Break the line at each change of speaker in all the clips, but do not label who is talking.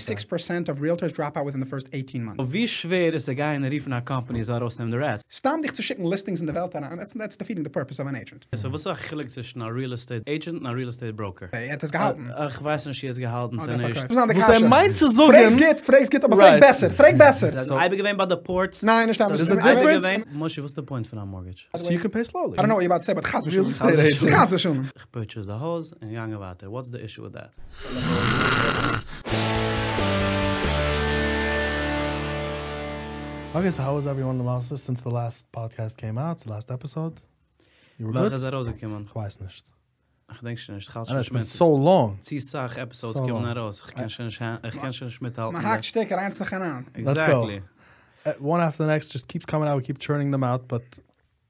86% of realtors drop out within the first 18 months.
Wie schwer ist der Guy in der Riefen nach Companies da rausnehmen der Rest?
Mhm.
Stam dich zu schicken listings in der Welt an, and that's, that's defeating the purpose of an agent.
So was ist der Gelijk zwischen einer Real Estate Agent und einer Real Estate Broker? Ah,
Er hat es gehalten.
Ich weiß nicht, wie es gehalten ist.
der
nicht.
verkauft. Was an der
Wo sei
Kasche.
meint zu
Frank
sagen,
geht, Frank geht, aber Frank
Right.
besser, Frank besser.
So, I begin by the ports.
Nein, ich
So,
stamme.
is the
the difference?
difference? Moshe, what's the point for a mortgage?
so you can pay slowly.
I don't know what you're about to say, but chas
Real estate
v'shulun.
agent.
Chas v'shulun.
Ich purchase the house and gange weiter. What's the issue with that?
Okay, so how is everyone in the house since the last podcast came out, the last episode? You were
Welche ist
good?
da rausgekommen?
Ich weiß nicht.
Ich denke schon, ich kann
I know,
schon
it's been
nicht
so long.
Ziesach Episodes
So
kommen
long.
raus. Ich kann schon nicht ha- ich kann schon nicht mithalten.
Man hakt Stecker eins nach an.
Let's go.
Exactly.
Uh, One after the next just keeps coming out. We keep churning them out, but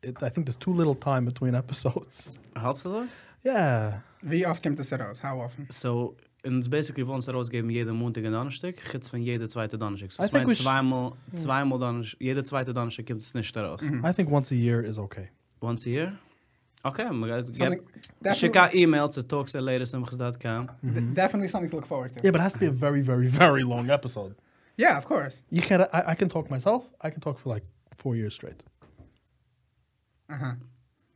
it, I think there's too little time between episodes.
Halt's du so?
Yeah.
Wie oft kommt es heraus? How often?
So, und es basically wollen uns rausgeben jeden Montag und Donnerstag, gibt's von jeder zweite Donnerstag. So,
I
es
think
meint
we sh- Mhm.
zweimal, zweimal Donnerstag, jeder zweite Donnerstag gibt es nicht raus.
I think once a year is okay.
Once a year? Okay, man
Something-
geht, schick a e-mail zu talks.latestmgs.com.
De- Definitely something to look forward
Yeah,
to.
but it has to be a very, very, very long episode.
Yeah, of course.
You can I, I can talk myself. I can talk for like four years straight.
Uh-huh.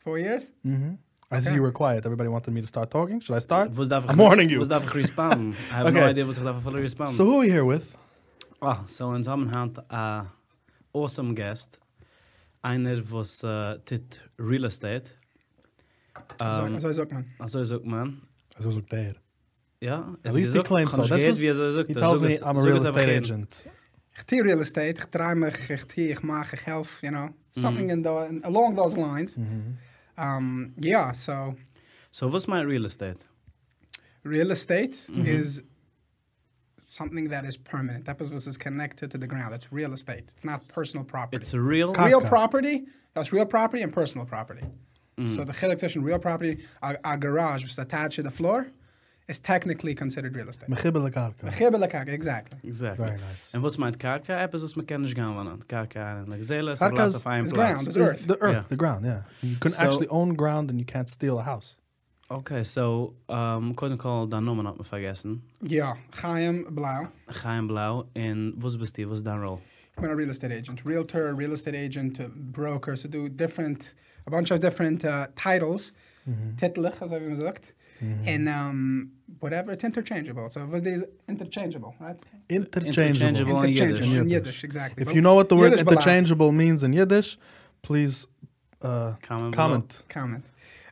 Four years?
Mm-hmm. I see
Okay.
you were quiet. Everybody wanted me to start talking. Should I start?
Was darf ich,
I'm warning you.
Was darf ich responden? I have no
Okay.
idea, was ich darf voll responden.
So who are we here with?
Ah, so in Zusammenhang a awesome guest. Einer, was uh, tit Real Estate. Um,
So so sagt man.
also sagt man,
As I was like there.
ja.
At least he claims so. This
er
is, he tells me I'm a real estate agent.
Ich tee real estate, ich trai mich, ich tee, ich mach, ich helf, you know.
Mhm.
Something in the, in- along those lines. Um, yeah, so
So what's my real estate?
real estate
Mhm.
is something that is permanent. That is what is connected to the ground. It's real estate. It's not personal property.
It's a real...
Cock-
real
Kaka.
property, that's real property and personal property.
Mhm.
So the chilik zwischen real property, a, a garage was attached to the floor, is technically considered real estate.
Mechibel Akarka.
Gebe lekak, exactly.
Exactly.
Very nice.
And what's my Karka? Eppes, was man kann nicht gehen er- wohnen. Karka, like Zela, ist
Karka
Platz
is-
auf einem
is
Platz.
ground.
The earth,
Earth.
the, earth,
Yeah.
the ground, yeah. You can
So-
actually own ground and you can't steal a house.
Okay, so, um, couldn't call dein Nummer not mehr vergessen.
Yeah, Chaim Blau.
Chaim Blau, and was bist du, was dein Roll?
I'm a real estate agent, realtor, real estate agent, uh, broker. So do different, a bunch of different uh, titles.
Mm-hmm.
Titlich, as I've been gesagt. And um, whatever, it's interchangeable. So was these interchangeable, right?
Interchangeable.
Interchangeable. Well, in Yiddish.
interchangeable.
In
In
Yiddish.
Yiddish, exactly.
If
But
you know what the word
Yiddish belasts.
interchangeable means in Yiddish, please uh,
Comment below.
comment.
comment.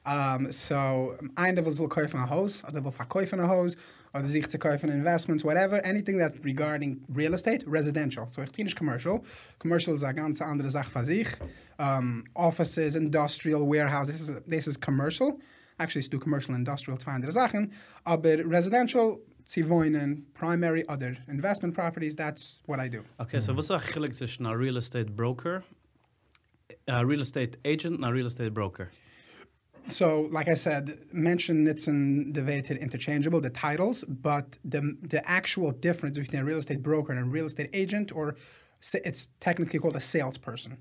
Um, so, um, einer will kaufen ein Haus, oder will verkaufen ein Haus, oder sich zu kaufen Investments, whatever, anything that regarding real estate, residential. So, ich tue nicht commercial. Commercial ist eine ganz andere Sache für sich. Um, offices, industrial, warehouse, this is, this is commercial. Actually, es do commercial, industrial, zwei andere Sachen. Aber Uh, residential, sie wohnen, primary, other investment properties, that's what I do.
Okay,
Mhm.
so what's the difference zwischen a real estate broker, a real estate agent, and a real estate broker?
So, like I said, mention Nitzen debated interchangeable, the titles, but the the actual difference between a real estate broker and a real estate agent, or sa- it's technically called a salesperson,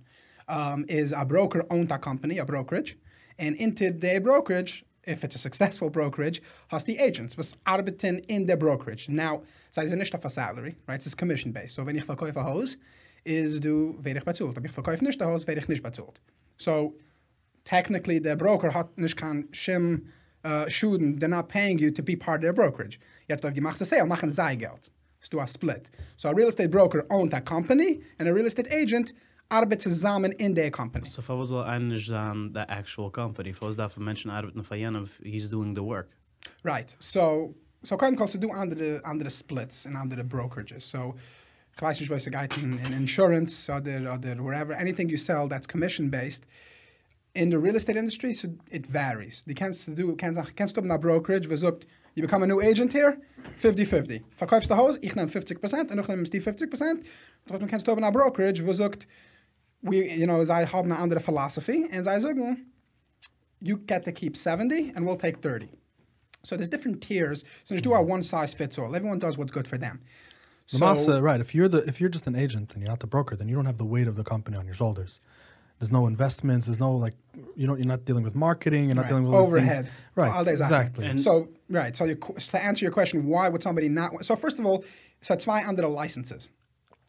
um, is a broker owned a company, a brokerage, and into the brokerage, if it's a successful brokerage, has the agents, was arbeiten in the brokerage. Now, so it's not a salary, right? It's commission based. So, when ich verkaufe a Haus, is du wenig bezahlt. Ob ich verkaufe nicht ein Haus, werde ich nicht bezahlt. So, technically the broker hat nicht kein Schim uh, Schuden, they're not paying you to be part of their brokerage. Yet if you machst a sale, machen sei Geld. It's do a split. So a real estate broker owns a company and a real estate agent arbeitet zusammen in their company.
So if I was eigentlich than the actual company, if I was that for mention arbeiten for Janov, he's doing the work.
Right. So so kein kannst du andere andere splits and andere brokerages. So ich weiß nicht, was der Guide in, in insurance oder oder wherever anything you sell that's commission based in the real estate industry so it varies. You can't do can't can't stop na brokerage was sagt you become a new agent here 50-50. Verkaufst du Haus, ich nehme 50% und ich nehme die 50%. Trotzdem kannst du aber na brokerage was sagt we you know, sei haben eine andere philosophy and sei sagen you get to keep 70 and we'll take 30. So there's different tiers. So there's do our one size fits all. Everyone does what's good for them.
The
So
masa- right? If you're the if you're just an agent and you're not the broker, then you don't have the weight of the company on your shoulders. There's no investments. There's no like you know you're not dealing with marketing. You're not
Right.
dealing with all these
overhead.
things. Right.
All that is
exactly.
And-
so right. So you, to answer your question, why would somebody not? So first of all, so it's why under the licenses.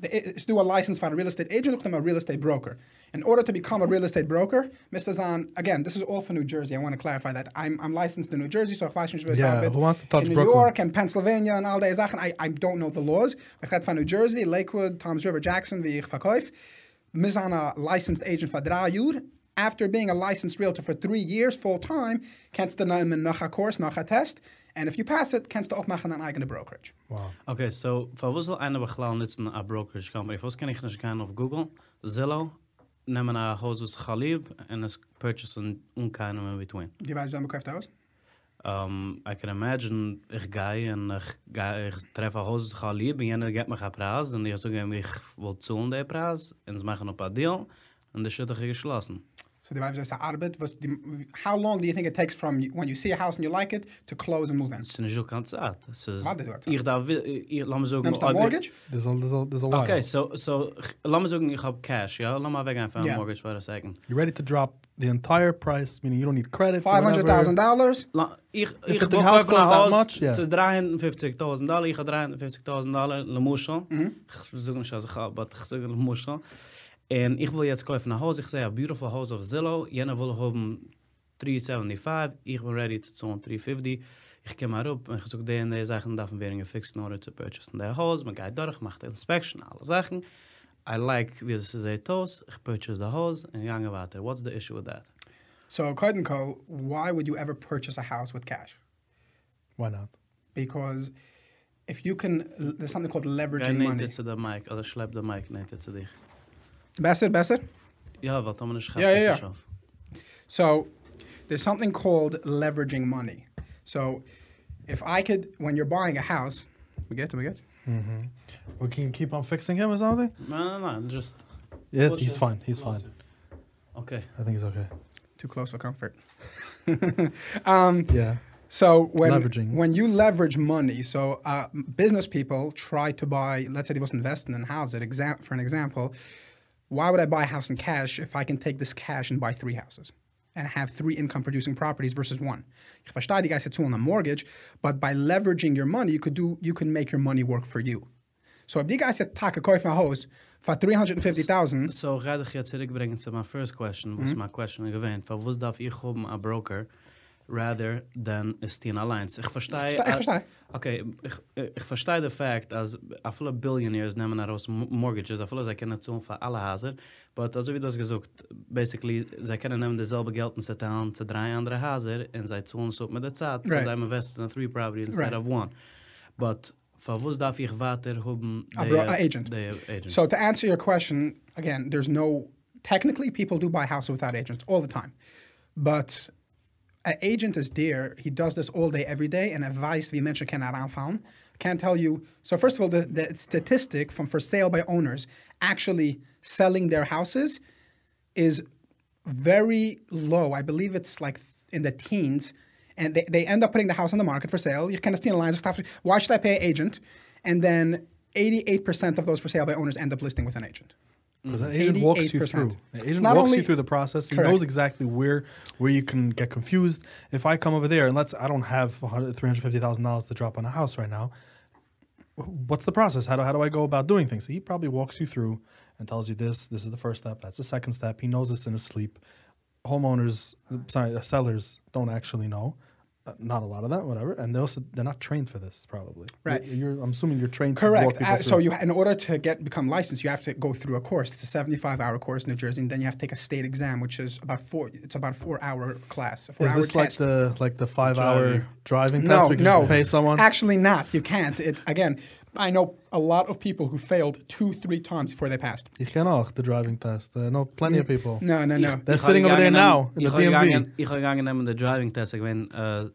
The- It's do a license for a real estate agent or become a real estate broker. In order to become a real estate broker, Mr. Zahn, again, this is all for New Jersey. I want to clarify that. I'm, I'm licensed in New Jersey, so if license was
Yeah,
arbeit
who wants to touch
in New
Brooklyn?
York and Pennsylvania and all die Sachen, I, I don't know the laws. Ich rede von New Jersey, Lakewood, Toms River, Jackson, wie ich verkauf. Mir sind a licensed agent for drei Jahre. After being a licensed realtor for three years full time, kannst du nehmen nach a course, nach a test. And if you pass it, kannst du auch machen an eigene brokerage.
wow.
Okay, so for was will einer beglaan dit een brokerage company? Was kan ik niet gaan of Google, Zillow, nemen a houses Khalib en is purchase een unkeinem in between.
Die weißt, wann man kauft aus?
Um, I can imagine ich gehe und ich, gehe, ich treffe ein Haus Khalib und jener gibt mir einen Preis und ich sage ihm, ich will zahlen den Preis und sie machen ein paar Deal und der Schütte ist er geschlossen.
So die weißt, Arbeit, was die, how long do you think it takes from you- when you see a house and you like it to close and move in?
Es ist nicht so ganz Zeit. Es ist...
Warte, du hast
Ich darf... Ich, ich, lass mich sagen...
Nimmst du a
ob ich-
mortgage?
There's a there's a there's a while.
Okay, so, so, ich- lass mich sagen, ich habe Cash, ja? Lass mal weg einfach
Ja.
ein Mortgage for a second.
You're ready to drop the entire price, meaning you don't need credit.
Five hundred thousand
whatever.
dollars.
La, ich
If
ich
the
book
house
einfach ein
costs that
Haus,
much, yeah.
es ist 350.000 Dollar, ich habe 350.000 Dollar le Muschel. Ich sage nicht, also ich habe, aber ich sage le Muschel. Und ich will jetzt kaufen ein Haus, ich sehe ein beautiful house auf Zillow, jener will haben 375, ich bin ready zu zahlen 350. Ich komme herup und ich sage denen, die Sachen darf man weniger fixen, order to purchase in der Haus, man geht durch, macht die Inspection, alle Sachen. I like, wie es ist, Haus, ich purchase the house und gange weiter. What's the issue with that?
So, Cotton Co., why would you ever purchase a house with cash?
Why not?
Because if you can, there's something called
Ga
leveraging
neemt
money.
het zu der Mic, oder schlepp der Mic, neemt het zu dich.
Besser, besser.
Ja, wat dan is
Ja, ja, ja.
gaat af.
So, there's something called leveraging money. So, if I could, when you're buying a house, we get, we get.
Mm-hmm. We can keep on fixing him or something.
No, no, no, just...
Yes,
Close
he's
it.
fine. He's
Close
fine.
Okay.
I think he's okay.
Too close for comfort. um,
Yeah.
So when
Leveraging.
when you leverage money, so uh, business people try to buy. Let's say they was investing in houses. Exam- for an example, why would I buy a house in cash if I can take this cash and buy three houses and have three income producing properties versus one? Ich verstehe, die guys jetzt on a mortgage, but by leveraging your money, you could do you can make your money work for you. So if die guys said, "Tak, kauf a house for three hundred and fifty thousand,
So, ga ik jetzt zurückbringen zu my first question, was
Mhm.
my question gewähnt. Van was darf ich haben a broker, rather than a Steen Alliance? Ich verstehe...
Verste- ich verstehe.
Okay, ich, ich verstehe the fact, als a viele Billionaires nehmen daraus mo- Mortgages, a viele, sie können zahlen für alle Häuser, but also wie das gesagt, basically, sie können nehmen dasselbe Geld und sie teilen zu drei andere Häuser und sie zahlen so mit der Zeit, so
Right.
sie investen in three properties instead
Right.
of one. But, von was darf ich weiter haben...
A Ah,
die-
bro- a agent.
die agent.
So to answer your question, again, there's no technically people do buy houses without agents all the time, but an agent is there. He does this all day, every day, and advice we mentioned cannot anfound. Can't tell you. So first of all, the, the statistic from for sale by owners actually selling their houses is very low. I believe it's like in the teens. And they, they end up putting the house on the market for sale. You kind of see in lines of stuff. Why should I pay an agent? And then 88% of those for sale by owners end up listing with an agent.
Because an agent walks you
88%.
through. An
It's
agent
not
walks
only-
you through the process. He
Correct.
knows exactly where where you can get confused. If I come over there and let's, I don't have 100 $350,000 to drop on a house right now. Wh- What's the process? How do, how do I go about doing things? So he probably walks you through and tells you this. This is the first step. That's the second step. He knows this in his sleep. Homeowners, sorry, uh, sellers don't actually know. Uh, not a lot of that, whatever. And they also they're not trained for this, probably.
Right.
You're, you're- I'm assuming you're trained. To walk
Correct.
people
Uh, so
through.
you, in order to get become licensed, you have to go through a course. It's a seventy-five hour course in New Jersey, and then you have to take a state exam, which is about four. It's about a four-hour class. A
Is
four-hour
this like
test.
the like the five hour driving test?
no,
we can
no.
Just pay someone.
Actually, not. You can't. It again. I know a lot of people who failed two, three times before they passed.
You can auch the driving test. I know plenty of people.
No, no, no.
They're sitting over there now in the
Ich habe
DMV.
gegangen, ich habe gegangen in the driving test, ich bin äh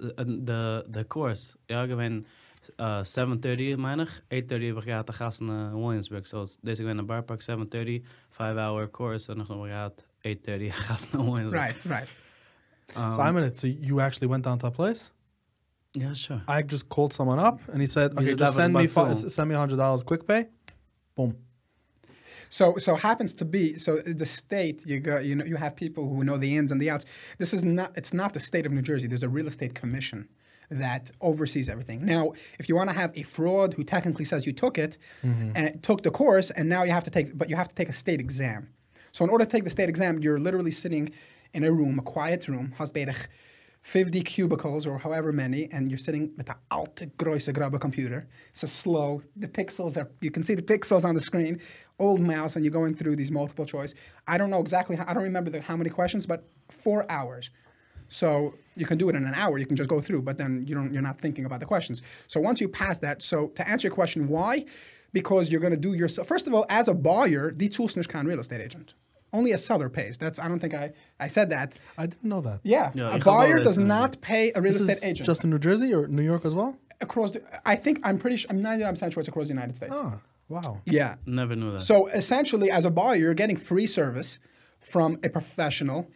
the the course. Ja, ich bin äh 7:30 meine ich, 8:30 habe ich gehabt der Gassen eh, in Williamsburg. So this ich bin in Bar Park 7:30 5 hour course und noch noch gehabt 8:30 Gassen in Williamsburg.
Right, right.
So I'm in it. So you actually went down to a place.
Yeah, sure.
I just called someone up and he said,
These
"Okay,
are
just
David
send me
Matson.
fi- send me hundred dollars quick pay." Boom.
So so happens to be so the state you go you know you have people who know the ins and the outs. This is not it's not the state of New Jersey. There's a real estate commission that oversees everything. Now, if you want to have a fraud who technically says you took it and took the course and now you have to take but you have to take a state exam. So in order to take the state exam, you're literally sitting in a room, a quiet room, hasberich 50 cubicles or however many, and you're sitting with an alte große grabber computer. It's a slow, the pixels are, you can see the pixels on the screen, old mouse, and you're going through these multiple choice. I don't know exactly, how, I don't remember the, how many questions, but four hours. So you can do it in an hour. You can just go through, but then you don't, you're not thinking about the questions. So once you pass that, so to answer your question, why? Because you're going to do yourself. First of all, as a buyer, die Tulsnish can real estate agent. Only a seller pays. That's I don't think I, I said that.
I didn't know that.
Yeah,
Yeah,
a
ich
buyer
glaube,
does
das-
not pay a real
This
estate
is
agent
just in New Jersey or New York as well?
across. The, I think I'm pretty. Sure, I'm 99 percent sure it's across the United States.
Ah, wow.
Yeah.
Never knew that.
So essentially, as a buyer, you're getting free service from a professional.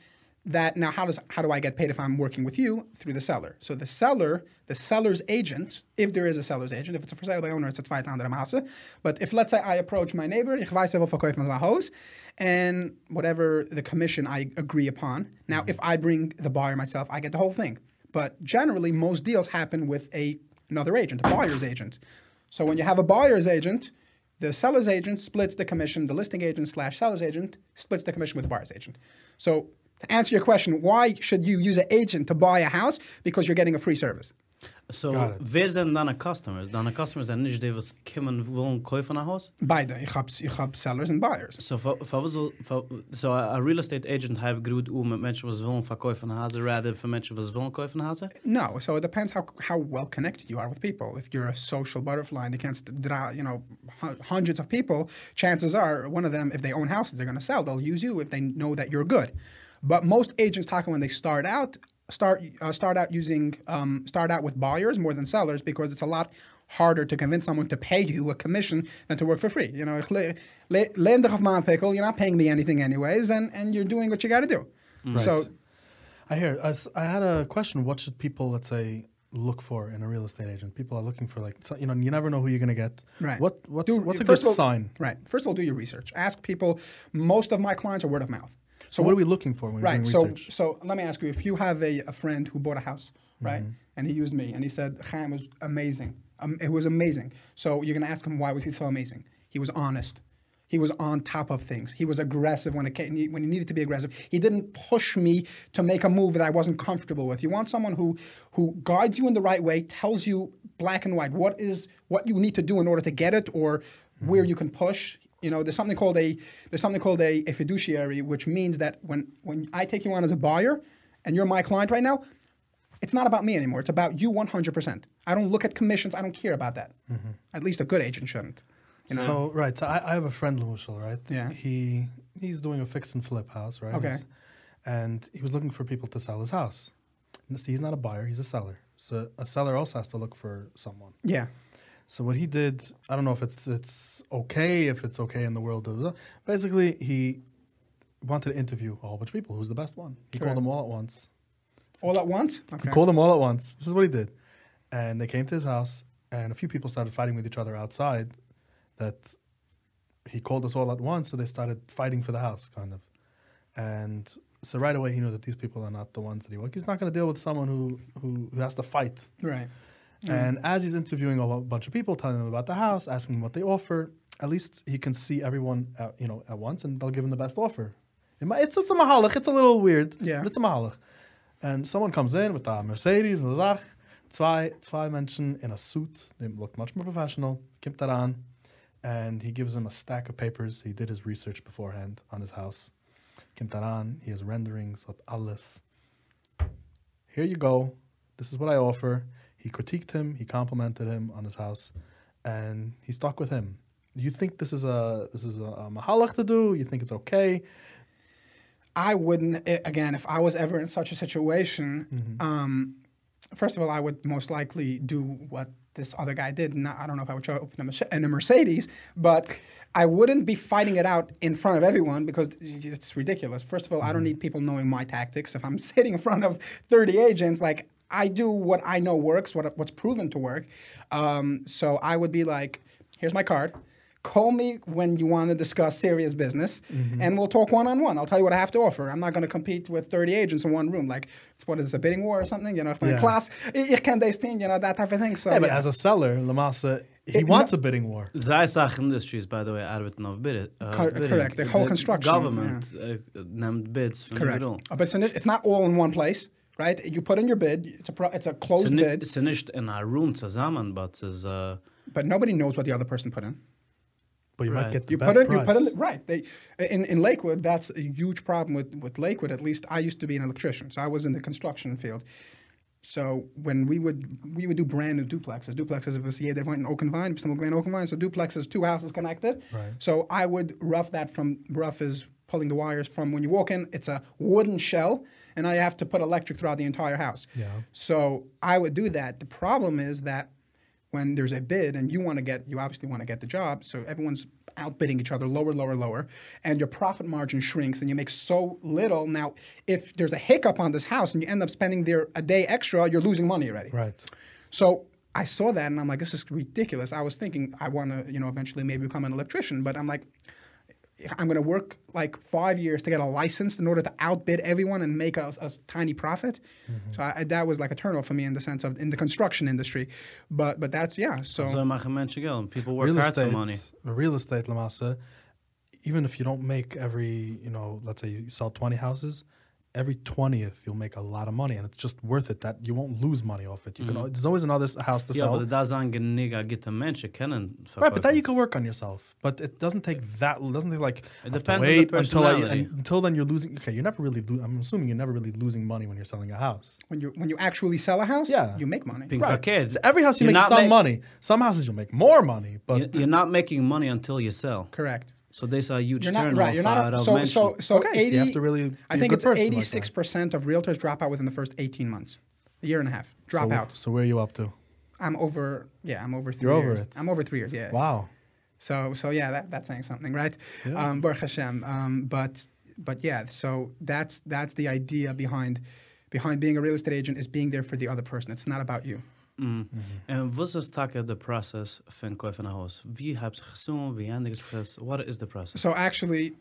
That now, how does how do I get paid if I'm working with you through the seller? So the seller, the seller's agent, if there is a seller's agent, if it's a for sale by owner, it's a zweitandere Masse. But if let's say I approach my neighbor, ich weiß, er will verkaufen sein Haus, and whatever the commission I agree upon. Now, if I bring the buyer myself, I get the whole thing. But generally, most deals happen with a another agent, a buyer's agent. So when you have a buyer's agent, the seller's agent splits the commission. The listing agent slash seller's agent splits the commission with the buyer's agent. So to answer your question, why should you use an agent to buy a house? Because you're getting a free service.
So,
Got it.
wer sind deine Customers? Deine Customers sind nicht die, was kommen wollen kaufen ein Haus?
Beide. Ich hab, ich hab sellers and buyers.
So, fa- fa- was soll- fa- so a a real estate agent habe gut um mit Menschen, was wollen verkaufen ein Haus, rather für Menschen, was wollen kaufen ein Haus?
No, so it depends how, how well connected you are with people. If you're a social butterfly and you can st- draw, you know, hu- hundreds of people, chances are one of them, if they own houses, they're going to sell. They'll use you if they know that you're good. But most agents, talking when they start out, start uh, start out using um, start out with buyers more than sellers because it's a lot harder to convince someone to pay you a commission than to work for free. You know, ich le- le- lend dich auf mein Pickel, you're not paying me anything anyways, and, and you're doing what you got to do. So
I hear. I s- I had a question. What should people, let's say, look for in a real estate agent? People are looking for like, so, you know, you never know who you're gonna get.
Right.
What what's
Do-
what's a good
first of all-
sign?
Right. First of all, do your research. Ask people. Most of my clients are word of mouth.
So what are we looking for when
Right.
we're
So
doing research?
so
Mm-hmm.
let me ask you: If you have a, a friend who bought a house, right, and he used me, and he said Chaim was amazing. Um, it was amazing. So you're gonna ask him why was he so amazing? He was honest. He was on top of things. He was aggressive when it came, when he needed to be aggressive. He didn't push me to make a move that I wasn't comfortable with. You want someone who who guides you in the right way, tells you black and white what is what you need to do in order to get it or where
Mm-hmm.
you can push. You know, there's something called a there's something called a, a fiduciary, which means that when when I take you on as a buyer and you're my client right now, it's not about me anymore. It's about you 100%. I don't look at commissions. I don't care about that. At least a good agent shouldn't. You know?
So right, so I, I have a friend, Lamushal, right?
Yeah.
He he's doing a fix and flip house, right?
Okay.
He's- and he was looking for people to sell his house. No, See, he's not a buyer; he's a seller. So a seller also has to look for someone.
yeah.
So what he did, I don't know if it's it's okay, if it's okay in the world of basically he wanted to interview a whole bunch of people. Who's the best one? He
Correct.
called them all at once.
All at once? Okay.
He called them all at once. This is what he did. And they came to his house and a few people started fighting with each other outside that he called us all at once, so they started fighting for the house, kind of. And so right away he knew that these people are not the ones that he wants. He's not gonna deal with someone who who, who has to fight.
Right.
And as he's interviewing a lo- bunch of people, telling them about the house, asking them what they offer, at least he can see everyone, at, you know, at once, and they'll give him the best offer. It might, it's, it's a mahalach. It's a little weird,
Yeah.
but it's a mahalach. And someone comes in with a Mercedes and a Zach, zwei, zwei Menschen in a suit. They look much more professional. Kommt daran, and he gives him a stack of papers. He did his research beforehand on his house. Kommt daran, he has renderings of alles here you go. This is what I offer. He critiqued him. He complimented him on his house, and he stuck with him. Do you think this is a this is a, a mahalach to do? You think it's okay?
I wouldn't, i- again, if I was ever in such a situation, um, first of all, I would most likely do what this other guy did. Not, I don't know if I would show up in a, Merce- in a Mercedes, but I wouldn't be fighting it out in front of everyone because it's ridiculous. First of all, I don't need people knowing my tactics. If I'm sitting in front of 30 agents, like, I do what I know works, what, what's proven to work. Um, so I would be like, here's my card. Call me when you want to discuss serious business,
Mm-hmm.
and we'll talk one on one. I'll tell you what I have to offer. I'm not going to compete with 30 agents in one room. Like, it's- what is this, a bidding war or something? You know, if my
Yeah.
class, e-, I- ich kann das Ding, you know, that type of thing. So,
Yeah, but
yeah.
as a seller, Lamasa, he
It-
wants a bidding war.
Zai Sach Industries, by the way, arbeiten auf Bid. Uh,
Cor- correct, the whole construction,
Government uh, nimmt Bids von
Correct.
Bidl.
Uh, But it's, not- it's not all in one place, right? You put in your bid. It's a pro, it's a closed bid,
Es ist nicht in a room zusammen, but es ist... Uh,
but nobody knows what the other person put in.
But you might
Right.
get the
You
best
put in, you
price.
put in, right? They in, in Lakewood, that's a huge problem with with Lakewood. At least I used to be an electrician, so I was in the construction field. So when we would we would do brand new duplexes, duplexes of a CA they went in Oak and Vine, some Grand Oak and Vine. So duplexes, two houses connected.
Right.
So I would rough that from rough is pulling the wires from when you walk in. It's a wooden shell, and I have to put electric throughout the entire house.
Yeah.
So I would do that. The problem is that when there's a bid and you want to get, you obviously want to get the job, so everyone's outbidding each other lower, lower, lower, and your profit margin shrinks and you make so little. Now, if there's a hiccup on this house and you end up spending there a day extra, you're losing money already.
right.
So I saw that and I'm like, this is ridiculous. I was thinking I want to, you know, eventually maybe become an electrician, but I'm like, I'm going to work like five years to get a license in order to outbid everyone and make a, a tiny profit.
Mm-hmm.
So I, that was like a turnoff for me in the sense of in the construction industry, but but that's yeah. So
so machen Menschen Geld. and People work
Real
hard for
estate,
money.
real estate, Lamasa, even if you don't make every, you know, let's say you sell 20 houses, every 20th you'll make a lot of money and it's just worth it that you won't lose money off it. You can, al- there's always another s- house to
Ja,
sell.
aber da sagen genügend gute Menschen kennen
Right, but that you
verkaufen.
can work on yourself. But it doesn't take that. It doesn't take like I have to
depends on the
wait until I,
personality.
and until then you're losing. Okay, you're never really. Lo- I'm assuming you're never really losing money when you're selling a house.
when you when you actually sell a house,
Yeah.
you make money.
Being verkehrt.
So every house you
You're
make
not
some
ma-
money. Some houses you'll make more money, but
You- You're not making money until you sell.
Correct.
So there's a huge
You're not
turn
right. You're not.
out
A,
of
so,
Menschen.
so so
Okay, so you
80,
have to really
I
be a
think
good
it's
person like that.
86 percent of realtors drop out within the first 18 months, a year and a half. Drop
so,
out.
So where are you up to?
I'm over. Yeah, I'm over 3
You're over
years.
it.
I'm over three years. Yeah.
Wow.
So so yeah, that, that's saying something, right?
Yeah.
Um, Baruch Hashem. Um, but but yeah, so that's that's the idea behind behind being a real estate agent is being there for the other person. It's not about you.
Mm. And what's the stack of the process van kaufen een huis? Wie hebt ze gezien? Wie hebben ze gezien? What is the process?
So actually.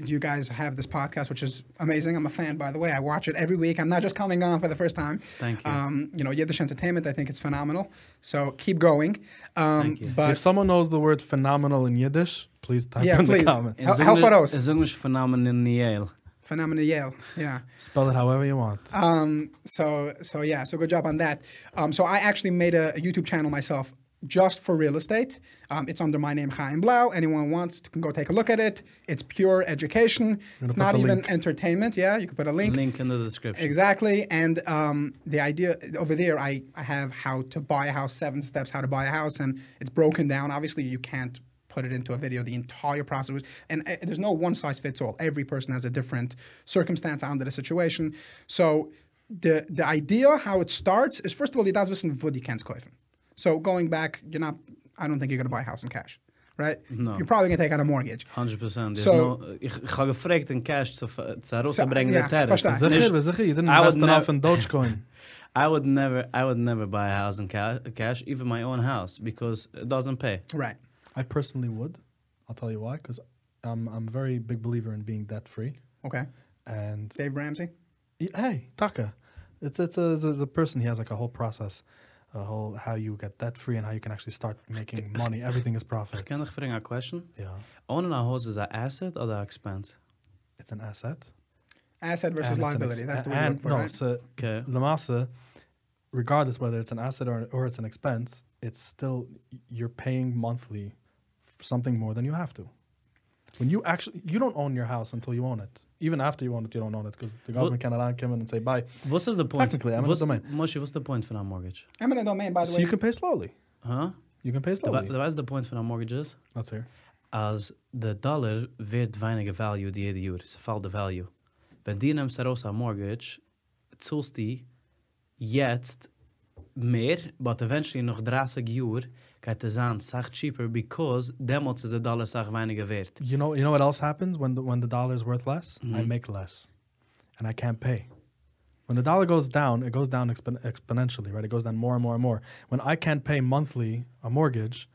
You guys have this podcast, which is amazing. I'm a fan, by the way. I watch it every week. I'm not just coming on for the first time.
Thank you.
Um, you know, Yiddish entertainment. I think it's phenomenal. So keep going. Um,
Thank you.
But
if someone knows the word phenomenal in Yiddish, please type
Yeah,
in
please.
the comments.
how- how far aus?
Is English phenomenon Yale.
phenomenal Yale. Yeah.
Spell it however you want.
Um, so so yeah, so good job on that. Um, so I actually made a, a YouTube channel myself just for real estate. Um, it's under my name Chaim Blau. Anyone wants to, can go take a look at it. It's pure education. It's
put
not
the
even
link.
entertainment. Yeah, you can put a link.
Link in the description.
Exactly, and um, the idea over there, I, I have how to buy a house, seven steps how to buy a house, and it's broken down. Obviously, you can't put it into a video. The entire process, was, and uh, there's no one size fits all. Every person has a different circumstance under the situation. So the the idea how it starts is first of all, you does wissen, wo die kannst kaufen. So going back, you're not. I don't think you're going to buy a house in cash, right?
No.
You're probably going to take out a mortgage.
100%. There's
So-
no, ich, ich habe gefragt in Cash zu, ver- zu rauszubringen
ja,
der Terrace.
verstehe.
Es ist
Zachir,
nicht-
Zachir, you didn't
I
invest
would nev-
enough in Dogecoin.
I would never, I would never buy a house in ca- cash, even my own house, because it doesn't pay.
Right.
I personally would. I'll tell you why, because I'm I'm a very big believer in being debt free.
Okay.
And
Dave Ramsey.
Yeah, Hey, Taka. It's it's a, it's a- it's a person. He has like a whole process, a whole how you get debt free and how you can actually start making money. Everything is profit.
Can I bring a question?
Yeah,
Owning a house is an asset or an expense?
it's an asset.
Asset versus
and it's an
liability.
ex-
That's the
and-
word for
no,
right?
so
Okay.
Lamasa, regardless whether it's an asset or or it's an expense, it's still you're paying monthly for something more than you have to. When you actually you don't own your house until you own it. Even after you own it, you don't own it because the government cannot come in and say bye.
What's the point?
Technically, I'm in
what's,
the domain.
Moshe, what's the point for a mortgage?
I'm in a domain, by the
So
way.
you can pay slowly.
Huh?
You can pay
Wa-
slowly.
Wat is the point for a mortgage is?
That's here.
Als de dollar wird weniger value die jede Jahr. Ze valt de value. Wenn die nimmst raus a mortgage, zahlst die jetzt mehr, but eventually noch 30 Jahr geht es an sach cheaper because demals ist der Dollar sach weniger wert.
You know, you know what else happens when the, when the dollar is worth less? I make less, and I can't pay. When the dollar goes down, it goes down expo- exponentially, right? It goes down more and more and more. When I can't pay monthly a mortgage,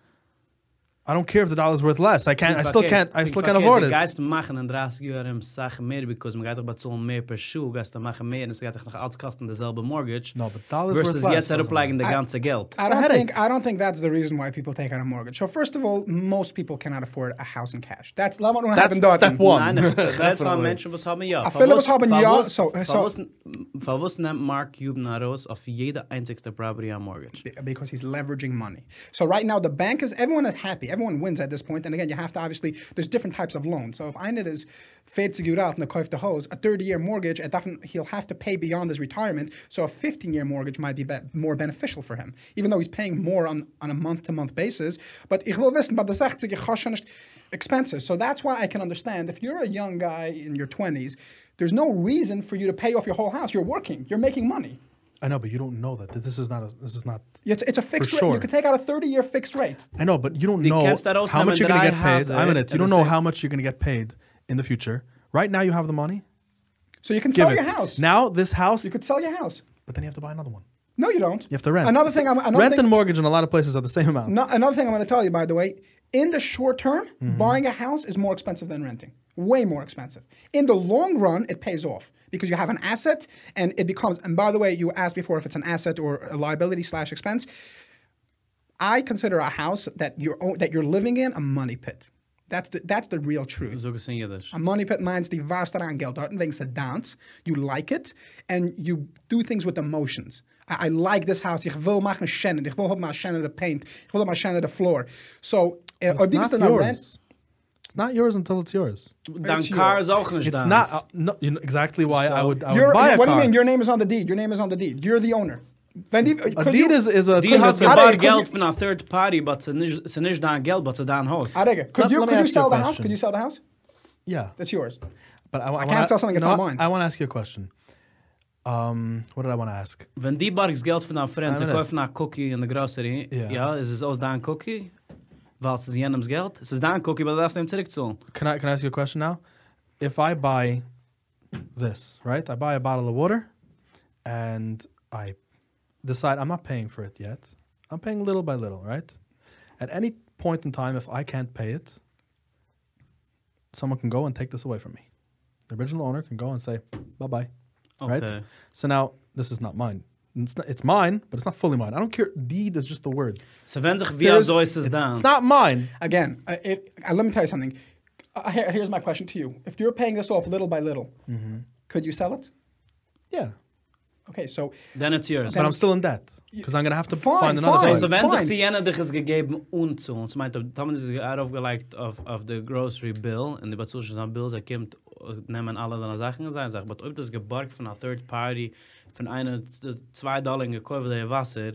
I don't care if the dollar's worth less. I can't. I still can't. I still can't
afford
afford it.
Guys machen in 30 Jahren Sachen mehr, because man geht doch bezahlen mehr per Schuh, gehst du machen mehr, und es geht doch noch alles kosten derselbe Mortgage.
No, but dollars worth
Versus
less.
jetzt
doesn't
herumlegen der
I-
ganze Geld.
I
a
don't
headache.
think I don't think that's the reason why people take out a mortgage. So first of all, most people cannot afford a house in cash. That's not what
That's
happened. dort.
step one.
Nein, ich rede von
Definitely.
Menschen, was haben ja.
I feel was haben ja, so- so-
Verwusst nimmt Mark Cuban heraus auf jede einzigste Property am Mortgage.
be- because he's leveraging money. So right now the bank is everyone is happy. Everyone wins at this point. And again, you have to obviously there's different types of loans. So if Einet is fed to out and the hose, a 30-year mortgage, at that- he'll have to pay beyond his retirement. So a 15-year mortgage might be, be more beneficial for him, even though he's paying more on, on a month-to-month basis. But ich will wissen, but the 60 ich kann schon nicht expenses. So that's why I can understand if you're a young guy in your 20s, there's no reason for you to pay off your whole house. You're working. You're making money.
I know, but you don't know that. Th- This is not. A, this is not.
It's, it's a fixed rate.
sure.
You could take out a 30 year fixed rate.
I know, but you don't know
can't start out
how much you're gonna
number
get
nine
paid.
house,
I'm in
right?
it. You don't
And
know
say-
how much you're gonna get paid in the future. Right now, you have the money.
So you can
Give
sell
it.
your house.
Now this house,
you could sell your house.
but then you have to buy another one.
No, you don't.
You have to rent.
Another thing, I'm, another
Rent
thing,
and mortgage in a lot of places are the same amount.
no- another thing I'm going to tell you, by the way, in the short term,
Mm-hmm.
buying a house is more expensive than renting. Way more expensive. In the long run, it pays off because you have an asset and it becomes. And by the way, you asked before if it's an asset or a liability slash expense. I consider a house that you're own, that you're living in a money pit. That's the that's the real truth.
So gesehen jedes.
A money pit means die warst daran Geld dort, wegen der Dance. You like it and you do things with emotions. I, I like this house. Ich will machen Shannon. Ich will haben mal Shannon the paint. Ich will haben mal Shannon the floor. So, äh, ob die
It's
bist
not
dann rent?
yours. It's not yours until it's yours.
Dein
it's
Car
yours.
ist auch nicht
It's
da.
not. Uh, no, you know exactly why I
So-
would. I would
Your-
buy a
what do
car.
you mean? Your name is on the deed. Your name is on the deed. You're the owner. uh, Wenn die,
a deed is, is
Die
a thing
hat
that's
Arre,
gebar
could you-
Geld von einer Third Party, but sie nicht, sie nicht dein Geld, but sie dein Haus.
Arege, could
Let-
you,
let
could you
me ask you a
sell the house?
question.
Could you sell the house?
yeah.
That's yours.
But I, I, wanna-
can't sell something that's
you know
not
what?
mine.
I want to ask you a question. Um, what did I want to ask?
Wenn die bargs Geld von einer Freund, sie
Nein, nein.
kaufen eine Cookie in der Grocery,
Ja.
ja, es ist aus dein Cookie, weil es ist jenems Geld. Es ist dein Cookie, aber du darfst ihm zurückzahlen.
Can I can I ask you a question now? If I buy this, right? I buy a bottle of water, and I decide I'm not paying for it yet. I'm paying little by little, right? At any point in time, if I can't pay it, someone can go and take this away from me. The original owner can go and say bye bye, right?
Okay.
So now this is not mine. It's, not, it's mine, but it's not fully mine. I don't care. Deed is just the word.
So wenn sich wie so ist es dann.
It's not mine.
again, uh, it, uh, let me tell you something. Uh, here, here's my question to you: If you're paying this off little by little,
Mm-hmm.
could you sell it?
Yeah,
Okay, so
Then it's yours.
but I'm still in debt because I'm gonna have to
Fine,
find another.
fine.
place.
So, so wenn
fine.
sich die jene dich ist gegeben und zu uns, meint, Thomas ist aufgelegt auf, auf der Grocery Bill, in der Bezusche an Bill, sie kommt, äh, nehmen alle deine Sachen in seine Sache, aber ob das geborgt von einer Third Party, von einer 2 Dollar gekauft der Wasser,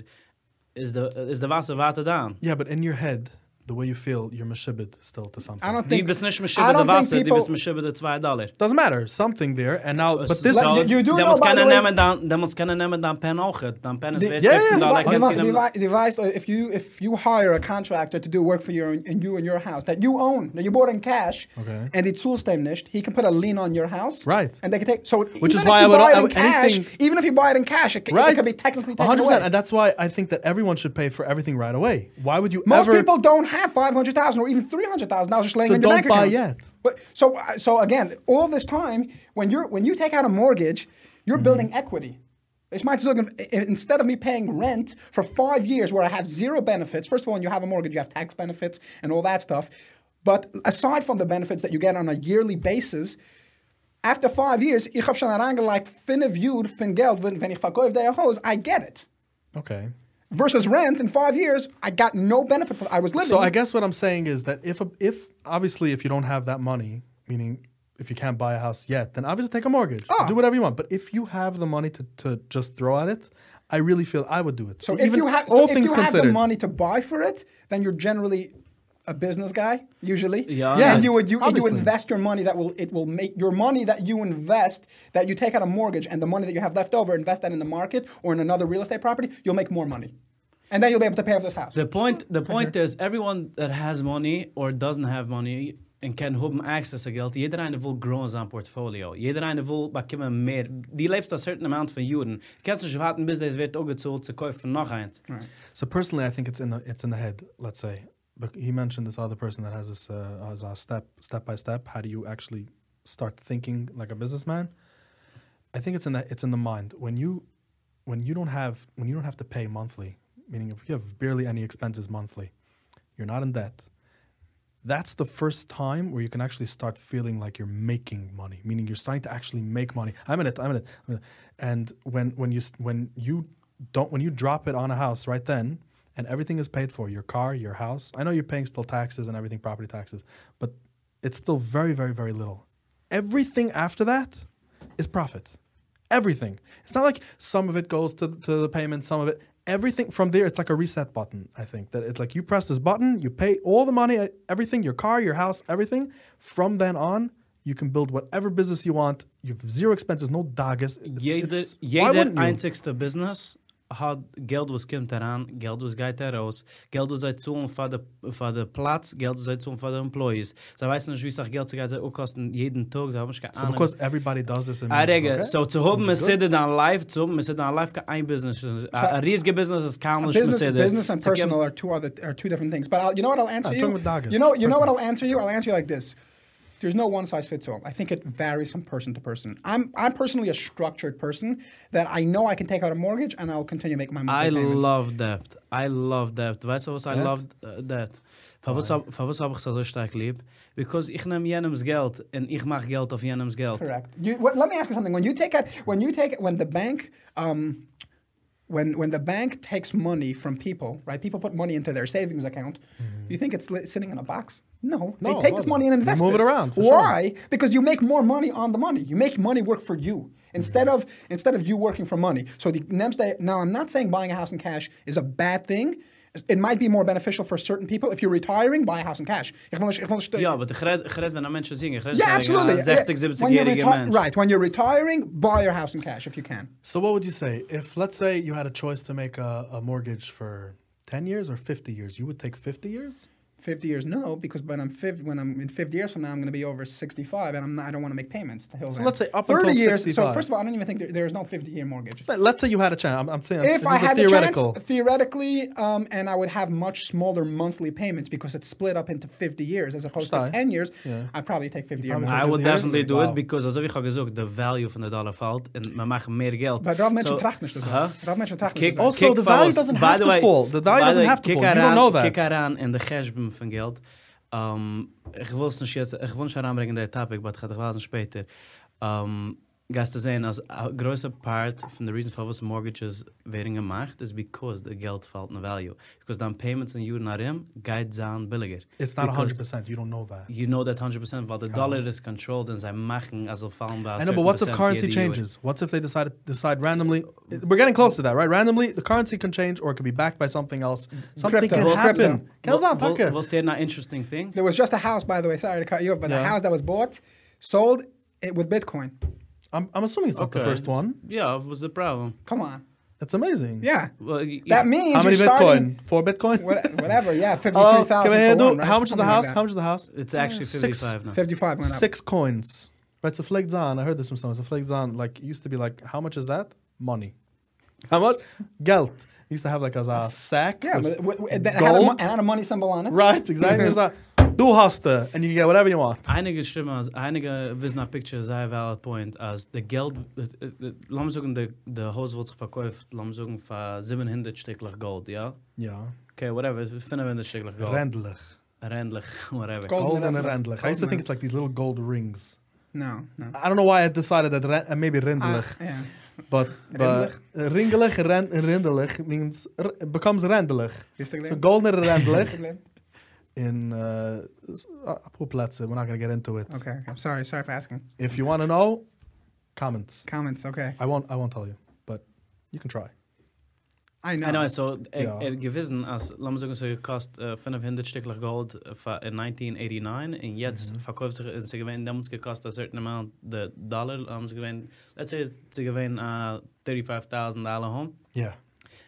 ist der, ist der Wasser weiter da.
Yeah, but in your head, the way you feel, you're mashibit still to something.
I don't
Die
think
bist nicht mit
I
Schibbe
don't
der
think
Wasser, die
people-
bist mit Schibbe der 2 Dollar.
Doesn't matter. Something there, and now, but this.
Let- you- you do
der
know,
muss
by
keine
the way-
nehmen, dann, der muss keine nehmen, dann Pen auch. Dann Pen ist
Die-
wert
ja, ja,
15 Dollar.
Devi-
Like,
kannst du ihn-
devi- devised, uh, if you if you hire a contractor to do work for you and- and you in your house that you own that you bought in cash
Okay.
and it's nicht, he can put a lien on your house
Right.
and they can take so
is
even if
why
you
I would-
buy
I
it in
would-
cash
anything-
even if you buy it in cash it, c- it
Right,
can be technically taken
100%,
away.
and that's why I think that everyone should pay for everything right away. Why would you
Most
ever?
people don't have five hundred thousand or even three hundred thousand dollars just laying
So
in your
don't
bank account.
buy yet.
But so uh, so again, all this time when you're when you take out a mortgage, you're
Mm-hmm.
building equity. It's might as well instead of me paying rent for five years where I have zero benefits. First of all, when you have a mortgage, you have tax benefits and all that stuff. But aside from the benefits that you get on a yearly basis, after five years, ich hab schon herangelegt, finne viewed, fin Geld, wenn, wenn ich verkauf der Haus, I get it.
okay.
Versus rent, in five years, I got no benefit. For, I was living.
So I guess what I'm saying is that if a, if obviously if you don't have that money, meaning if you can't buy a house yet, then obviously take a mortgage,
Ah.
do whatever you want. But if you have the money to, to just throw at it, I really feel I would do it.
So if you have, so if you have the money to buy for it, then you're generally a business guy usually.
Yeah.
And
Yeah,
you would you, and you
obviously.
invest your money that will it will make your money that you invest that you take out a mortgage and the money that you have left over invest that in the market or in another real estate property. You'll make more money, and then you'll be able to pay off this house.
The point, the point is, everyone that has money or doesn't have money and can have access to geld, jeder eine will grow in sein Portfolio. Jeder eine will bekommen mehr. Die lebst a certain amount von Juden. Kannst nicht warten, bis das wird auch gezahlt, zu kaufen noch eins.
So personally, I think it's in the it's in the head. Let's say bec- he mentioned this other person that has this uh, has a step step by step. How do you actually start thinking like a businessman? I think it's in that it's in the mind when you when you don't have when you don't have to pay monthly, meaning if you have barely any expenses monthly, you're not in debt. That's the first time where you can actually start feeling like you're making money, meaning you're starting to actually make money. I'm in it. I'm in it. I'm in it. And when when you s- when you don't when you drop it on a house right then, and everything is paid for your car, your house. I know you're paying still taxes and everything, property taxes, but it's still very, very, very little. Everything after that is profit. Everything. It's not like some of it goes to, to the payment, some of it. Everything from there, it's like a reset button, I think. That it's like you press this button, you pay all the money, everything, your car, your house, everything. From then on, you can build whatever business you want. You have zero expenses, no dagas. It's-
Jeder,
it's- why
jeder
wouldn't you?
einzigste Business hat Geld, was kommt daran, Geld, was geht heraus, Geld, was seit zuhren für den für den Platz, Geld, was seit zuhren für den Employees. Sie weiß nicht, wie sich Geld zu geht, sie auch kosten jeden Tag, sie haben nicht keine
So
Ahnung.
because everybody does this in
Ah, Rege,
okay?
so zu haben Mercedes an live, zu haben Mercedes an live, kein Business. Ein ein riesiger Business ist kaum nicht
business,
Mercedes.
business and
Sie geben-
personal are two other are two different things. But I'll, you know what I'll answer
Ah,
you.
talking about Dagas,
you know, you know what
personal.
I'll answer you. I'll answer you like this. There's no one size fits all. I think it varies from person to person. I'm I'm personally a structured person that I know I can take out a mortgage and I'll continue making my monthly
I
payments.
love that. I love that. Weißt du was? I
Debt?
love uh, that. Von was hab- von was hab ich so so stark lieb? Because ich nehm jenems Geld und ich mach Geld auf jenems Geld.
Correct. You, what, let me ask you something. When you take out, when you take, when the bank, um, when when the bank takes money from people, right? People put money into their savings account. You think it's li- sitting in a box? No,
Mm-hmm. No,
they take
no,
this
no.
money and
They
invest
move it around, for sure.
Why? Because you make more money on the money. You make money work for you instead
Mm-hmm.
of instead of you working for money. So the Nemste, now I'm not saying buying a house in cash is a bad thing. It might be more beneficial for certain people. If you're retiring, buy a house in cash. Ich will nicht- ich will nicht-
Ja, aber ich red, ich red, wenn ein Mensch singt, ich red
yeah,
nicht wegen
uh,
absolutely.
einem 60,
Yeah. When you're
70-jähriger
reti-
Mensch.
Right. When you're retiring, buy your house in cash if you can.
So what would you say if, let's say, you had a choice to make a, a mortgage for ten years or fifty years? You would take fifty years.
50 years, no, because when I'm 50, when I'm in 50 years from now, I'm going to be over 65, and I'm not, I don't want to make payments. till then.
let's say up
30
until
years.
65.
So first of all, I don't even think there, there is no 50 year mortgage.
Let- Let's say you had a chance. I'm, I'm saying
If
this
I
is a
had the chance,
theoretical.
theoretically, um, and I would have much smaller monthly payments because it's split up into 50 years as opposed to
Verstehe.
10 years,
Yeah.
I'd probably take 50 year
probably
mortgage.
I would
Yes.
definitely do
Wow.
it because, also wie ich habe gesagt, the value von der Dollar fällt und man macht mehr Geld.
But Rav mentioned tracht nicht zu
Huh?
sein. Rav mentioned tracht
Kick,
nicht zu sein.
Also, the value
follows-
doesn't
by
have
the
to
way-
fall. The value
by
doesn't
way,
have to
kick
fall. You don't
heran-
know that.
Kick heran in de Gershbim van Geld. Um, ich will es nicht jetzt, ich will nicht heranbringen der Topic, aber ich werde es später. Um, Gast zu sehen, als a größer Part von der Reason, for was Mortgages werden gemacht, is because the Geld fällt in value. Because dann Payments in Juden Arim geht sein billiger.
It's not
Because
hundred percent. You don't know that.
You know that 100%, weil the dollar is controlled and sie machen, also fallen bei
I know, but what's if currency changes? What's if they decide decide randomly? We're getting close to that, right? Randomly, the currency can change, or it could be backed by something else.
Mm,
Something
Crypto.
can
Well,
happen.
crypto.
Kels on,
Was,
Tucker.
was der na interesting thing?
There was just a house, by the way. Sorry to cut you off, but the
Yeah.
house that was bought, sold it with Bitcoin.
I'm, I'm assuming it's not the
Okay.
first one.
Yeah, what's the problem?
Come on.
That's amazing.
Yeah.
Well, y-
That
y-
means
How many
you're starting
Bitcoin? Four Bitcoin.
what, whatever. Yeah,
Oh,
fifty-three
can
thousand.
I do-
one, right?
How much is the
Something like
house?
that.
how much is the house?
It's actually
Six-
55 now.
Fifty-five went up.
six coins. Right, so flag zan. I heard this from someone. So flag zan, like it used to be like, how much is that? Money. How much? Geld. It used to have like as a sack.
Yeah,
with
but w- w- that had a, mo-
gold.
had a money symbol on it.
right, exactly. It was like, du hast the, and you can get whatever you want.
Einige stimmen, als- einige wissen a picture, sei a valid point, als der Geld, äh, lass mich sagen, der der Haus wird sich verkauft, lass mich sagen, für 700 Stücklich Gold, ja?
Yeah.
Okay, whatever, 500 Stücklich Gold.
Rendlich.
Rendlich, whatever.
Gold.
Golden
Rendlich.
rendlich. I used to
Golden.
think it's like these little gold rings.
No, no.
I don't know why I decided that ren- uh, maybe
Ah,
rendlich,
yeah.
but but ringelig ren- rendelig means r- it becomes rendelig.
Is it
So
Glenn?
golden rendelig
Is it Glenn?
in uh, s- uh, Apoplatze. We're not gonna get into it.
Okay, okay. Sorry, sorry for asking.
If you want to know, comments.
Comments. Okay.
I won't. I won't tell you, but you can try.
I know.
I know, so
Ja.
er, er gewissen, als, lass mich sagen, so gekost äh, 500 Stücklich Gold äh, für- in 1989 und jetzt
Mhm.
verkauft sich, äh, sie gewinnen, damals gekostet a certain amount, the Dollar, haben sie gewinnen, let's say, sie gewinnen äh, 35.000 Dollar home.
Yeah.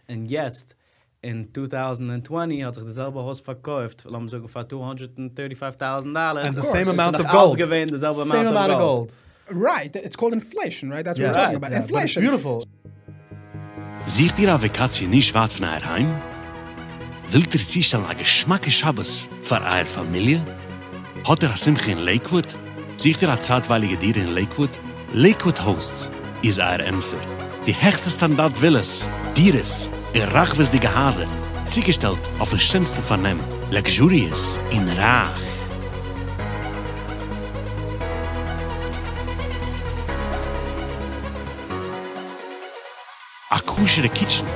En jetzt, in 2020, had zich dezelfde host verkauft. Laten we zeggen, voor 235.000 dollar.
And the
course.
same
It's
amount
Ze zijn
of
nog
gold.
altijd gewend, dezelfde
same
amount,
amount
of
of
gold.
gold.
Right. th- It's called inflation, right? That's what we're
Right,
talking about.
yeah, but it's
inflation.
beautiful.
Sieht ihr a Vakantie nicht weit von euch heim? Wilt ihr zustellen a geschmacke Schabbes für eure Familie? Hat ihr a Simche in Lakewood? Sieht ihr a zeitweilige Dier in Lakewood? Lakewood Hosts is eure Empfer. Die höchste Standard Villas, Dieres, in rachwisdige Hase, zugestellt auf den schönsten Vernehm, luxurious in Rach. a kuschere kitchen.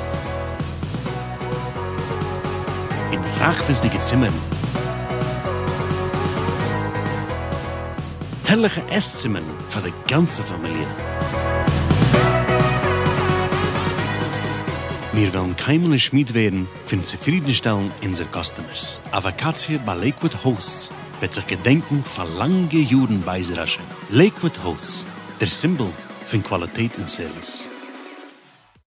In rachwistige Zimmern. Herrliche Esszimmern für die ganze Familie. Wir wollen keimele Schmied werden für den Zufriedenstellen unserer Customers. A Vakatie bei Lakewood Hosts wird sich gedenken für lange Juren bei Israel. Lakewood Hosts, der Symbol für Qualität und Service.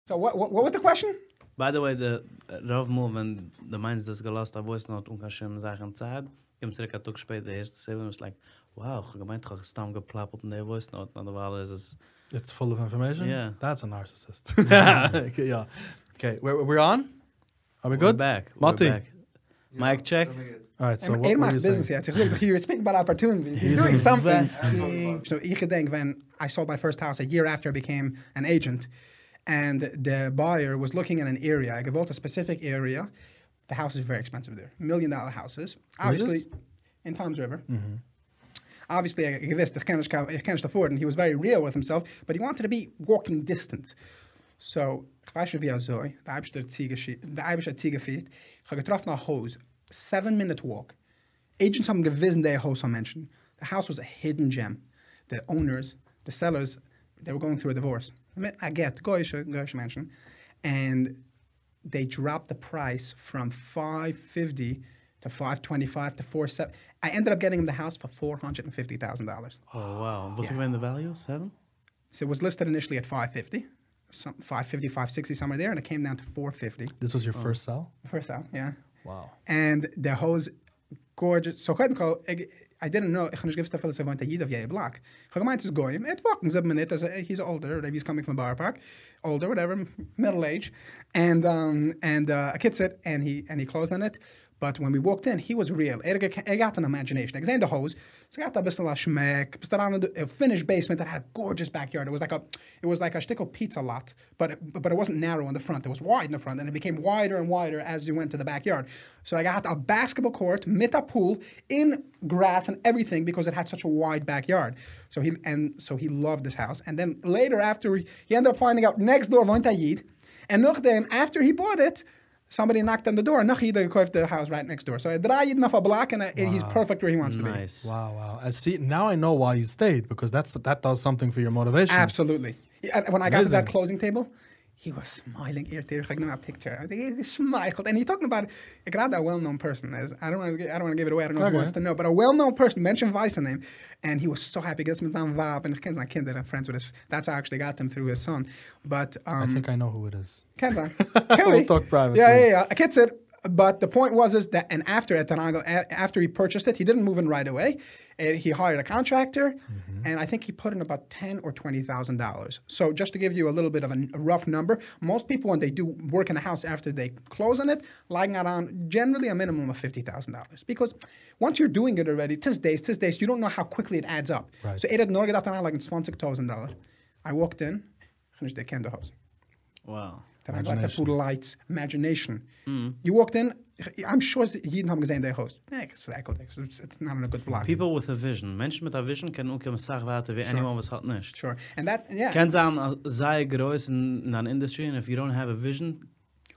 So what, what, what was the question?
By the way, the uh, Rav Mo, when the minds das gelast, I voice um, not unkashem Sachen Zeit, kim zirka tuk spät der erste Seven, was like, wow, ich gemeint, ich habe stamm geplappelt in der voice not, na der Wahl ist es,
It's full of information.
Yeah.
That's a narcissist. okay, yeah. Okay, we're, we're on? Are we
we're
good?
back, we're
Mati.
back. Mic check.
All right, so
So
what were you
business
saying?
yet. He's like, you're speaking about opportunities. He's, doing something. So you could think when I sold my first house a year after I became an agent, and the buyer was looking at an area. I developed a specific area. The house is very expensive there, million dollar houses. Obviously, in Tom's River. Obviously, I gewusst, ich kann nicht kau- ich kann nicht afford, and he was very real with himself, but he wanted to be walking distance. So, ich weiß schon, wie er soll. Der Eibisch hat Ziege schie- der Eibisch hat Ziege fehlt. Ich habe getroffen nach e Hose. Seven-minute walk. Agents haben gewissen, der Hose haben Menschen. The house was a hidden gem. The owners, the sellers, they were going through a divorce. I mean, I get, goyische, goyische Menschen. And they dropped the price from 550 to 525 to 47. I ended up getting him the house for $450,000.
Oh, wow. Was gewinnt the value? Seven?
So it was listed initially at 550, some 550, 560 somewhere there, and it came down to 450
This was your
Oh.
first cell?
first out, yeah.
Wow.
And the hose gorgeous. So kod ko I, I didn't know ich nicht gewusst dass er wohnt in jeder Jahr Block. Ich gemeint ist goyim. Et walken seven minutes as he's older, maybe he's coming from Bar Park, older whatever, middle age. And um and uh, a kid said and he and he closed on it. But when we walked in, he was real. Er, ge- er got an imagination. Ik zei de hose. Ze got a bisschen a schmeck. Bist er daran a finished basement that had a gorgeous backyard. It was like a, it was like a shtickle pizza lot, but it, but it wasn't narrow in the front. It was wide in the front, and it became wider and wider as you went to the backyard. So I got a basketball court, mit a pool, in grass and everything because it had such a wide backyard. So he and so he loved this house. And then later after he, he ended up finding out next door wohnt a Yid, and nachdem after he bought it. Somebody knocked on the door. Nach jeder gekauft the house right next door. So I drei jeden auf a block and uh, he's perfect where he wants to be.
Nice.
Wow, wow. I see, now I know why you stayed because that's that does something for your motivation.
Absolutely. Yeah, and When I got to
Amazing.
that closing table, he was smiling ear to ear. I a picture. I think he smiled. And he talking about like not a well-known person. As I don't want to. I don't want to give it away. I don't know if
Okay.
he wants to know, but a well-known person mentioned Weiss name, and he was so happy. Gets me down vibe, and Ken's my kid that I'm friends with. Us. That's how I actually got him through his son. But um,
I think I know who it is.
Can I? Can
We'll talk privately.
Yeah, yeah, yeah. I can't say it. But the point was is that, and after Etanango, a- after he purchased it, he didn't move in right away. Uh, he hired a contractor,
Mm-hmm.
and I think he put in about ten or twenty thousand dollars. So just to give you a little bit of a, n- a rough number, most people when they do work in a house after they close on it, lying around generally a minimum of fifty thousand dollars because once you're doing it already, tis days, tis days, you don't know how quickly it adds up.
Right.
So it had not got like twenty thousand dollars. I walked in, finished the candle house.
Wow.
Dann hat like the food lights, imagination. You walked in, I'm sure jeden haben gesehen, der Host. Nee, it's, it's, it's not in a good block.
People with a vision. Menschen mit a vision können umkommen Sachen warten, wie anyone was hat nicht.
sure. And that, yeah.
Kann sein, als äh, sei groß in, in an industry, and if you don't have a vision,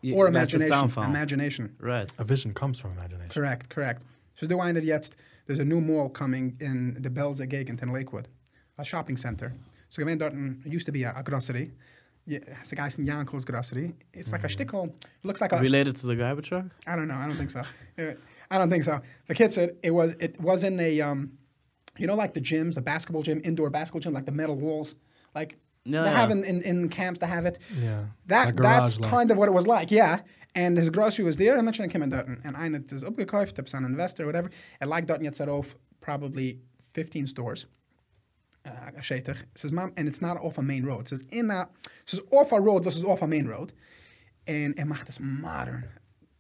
you,
or
lässt es
imagination.
anfangen.
Imagination.
Right.
A vision comes from imagination.
Correct, correct. So do I ended jetzt, there's a new mall coming in the Bells at Gagent in Lakewood, a shopping center. So gewähnt dort, ein- it mm, used to be a, a grocery. Yeah, it's a guy's in Yankel's grocery. It's like a shtickle, it looks like a,
Related to the garbage truck?
I don't know. I don't think so. Uh, I don't think so. The kid said it was it wasn't a um, you know, like the gyms, the basketball gym, indoor basketball gym, like the metal walls, like
Yeah,
they
yeah.
have in, in, in camps. They have it.
Yeah.
That
Like
that's
garage, like.
kind of what it was like. Yeah. And his grocery was there. I mentioned him in Dutton, and I know it was upgekauft, tips an investor, whatever. And like Dutton, it's set off probably 15 stores. Uh, Shetig. It says, Mom, and it's not off a main road. It says, in a, it says off a road versus off a main road. And it macht es modern.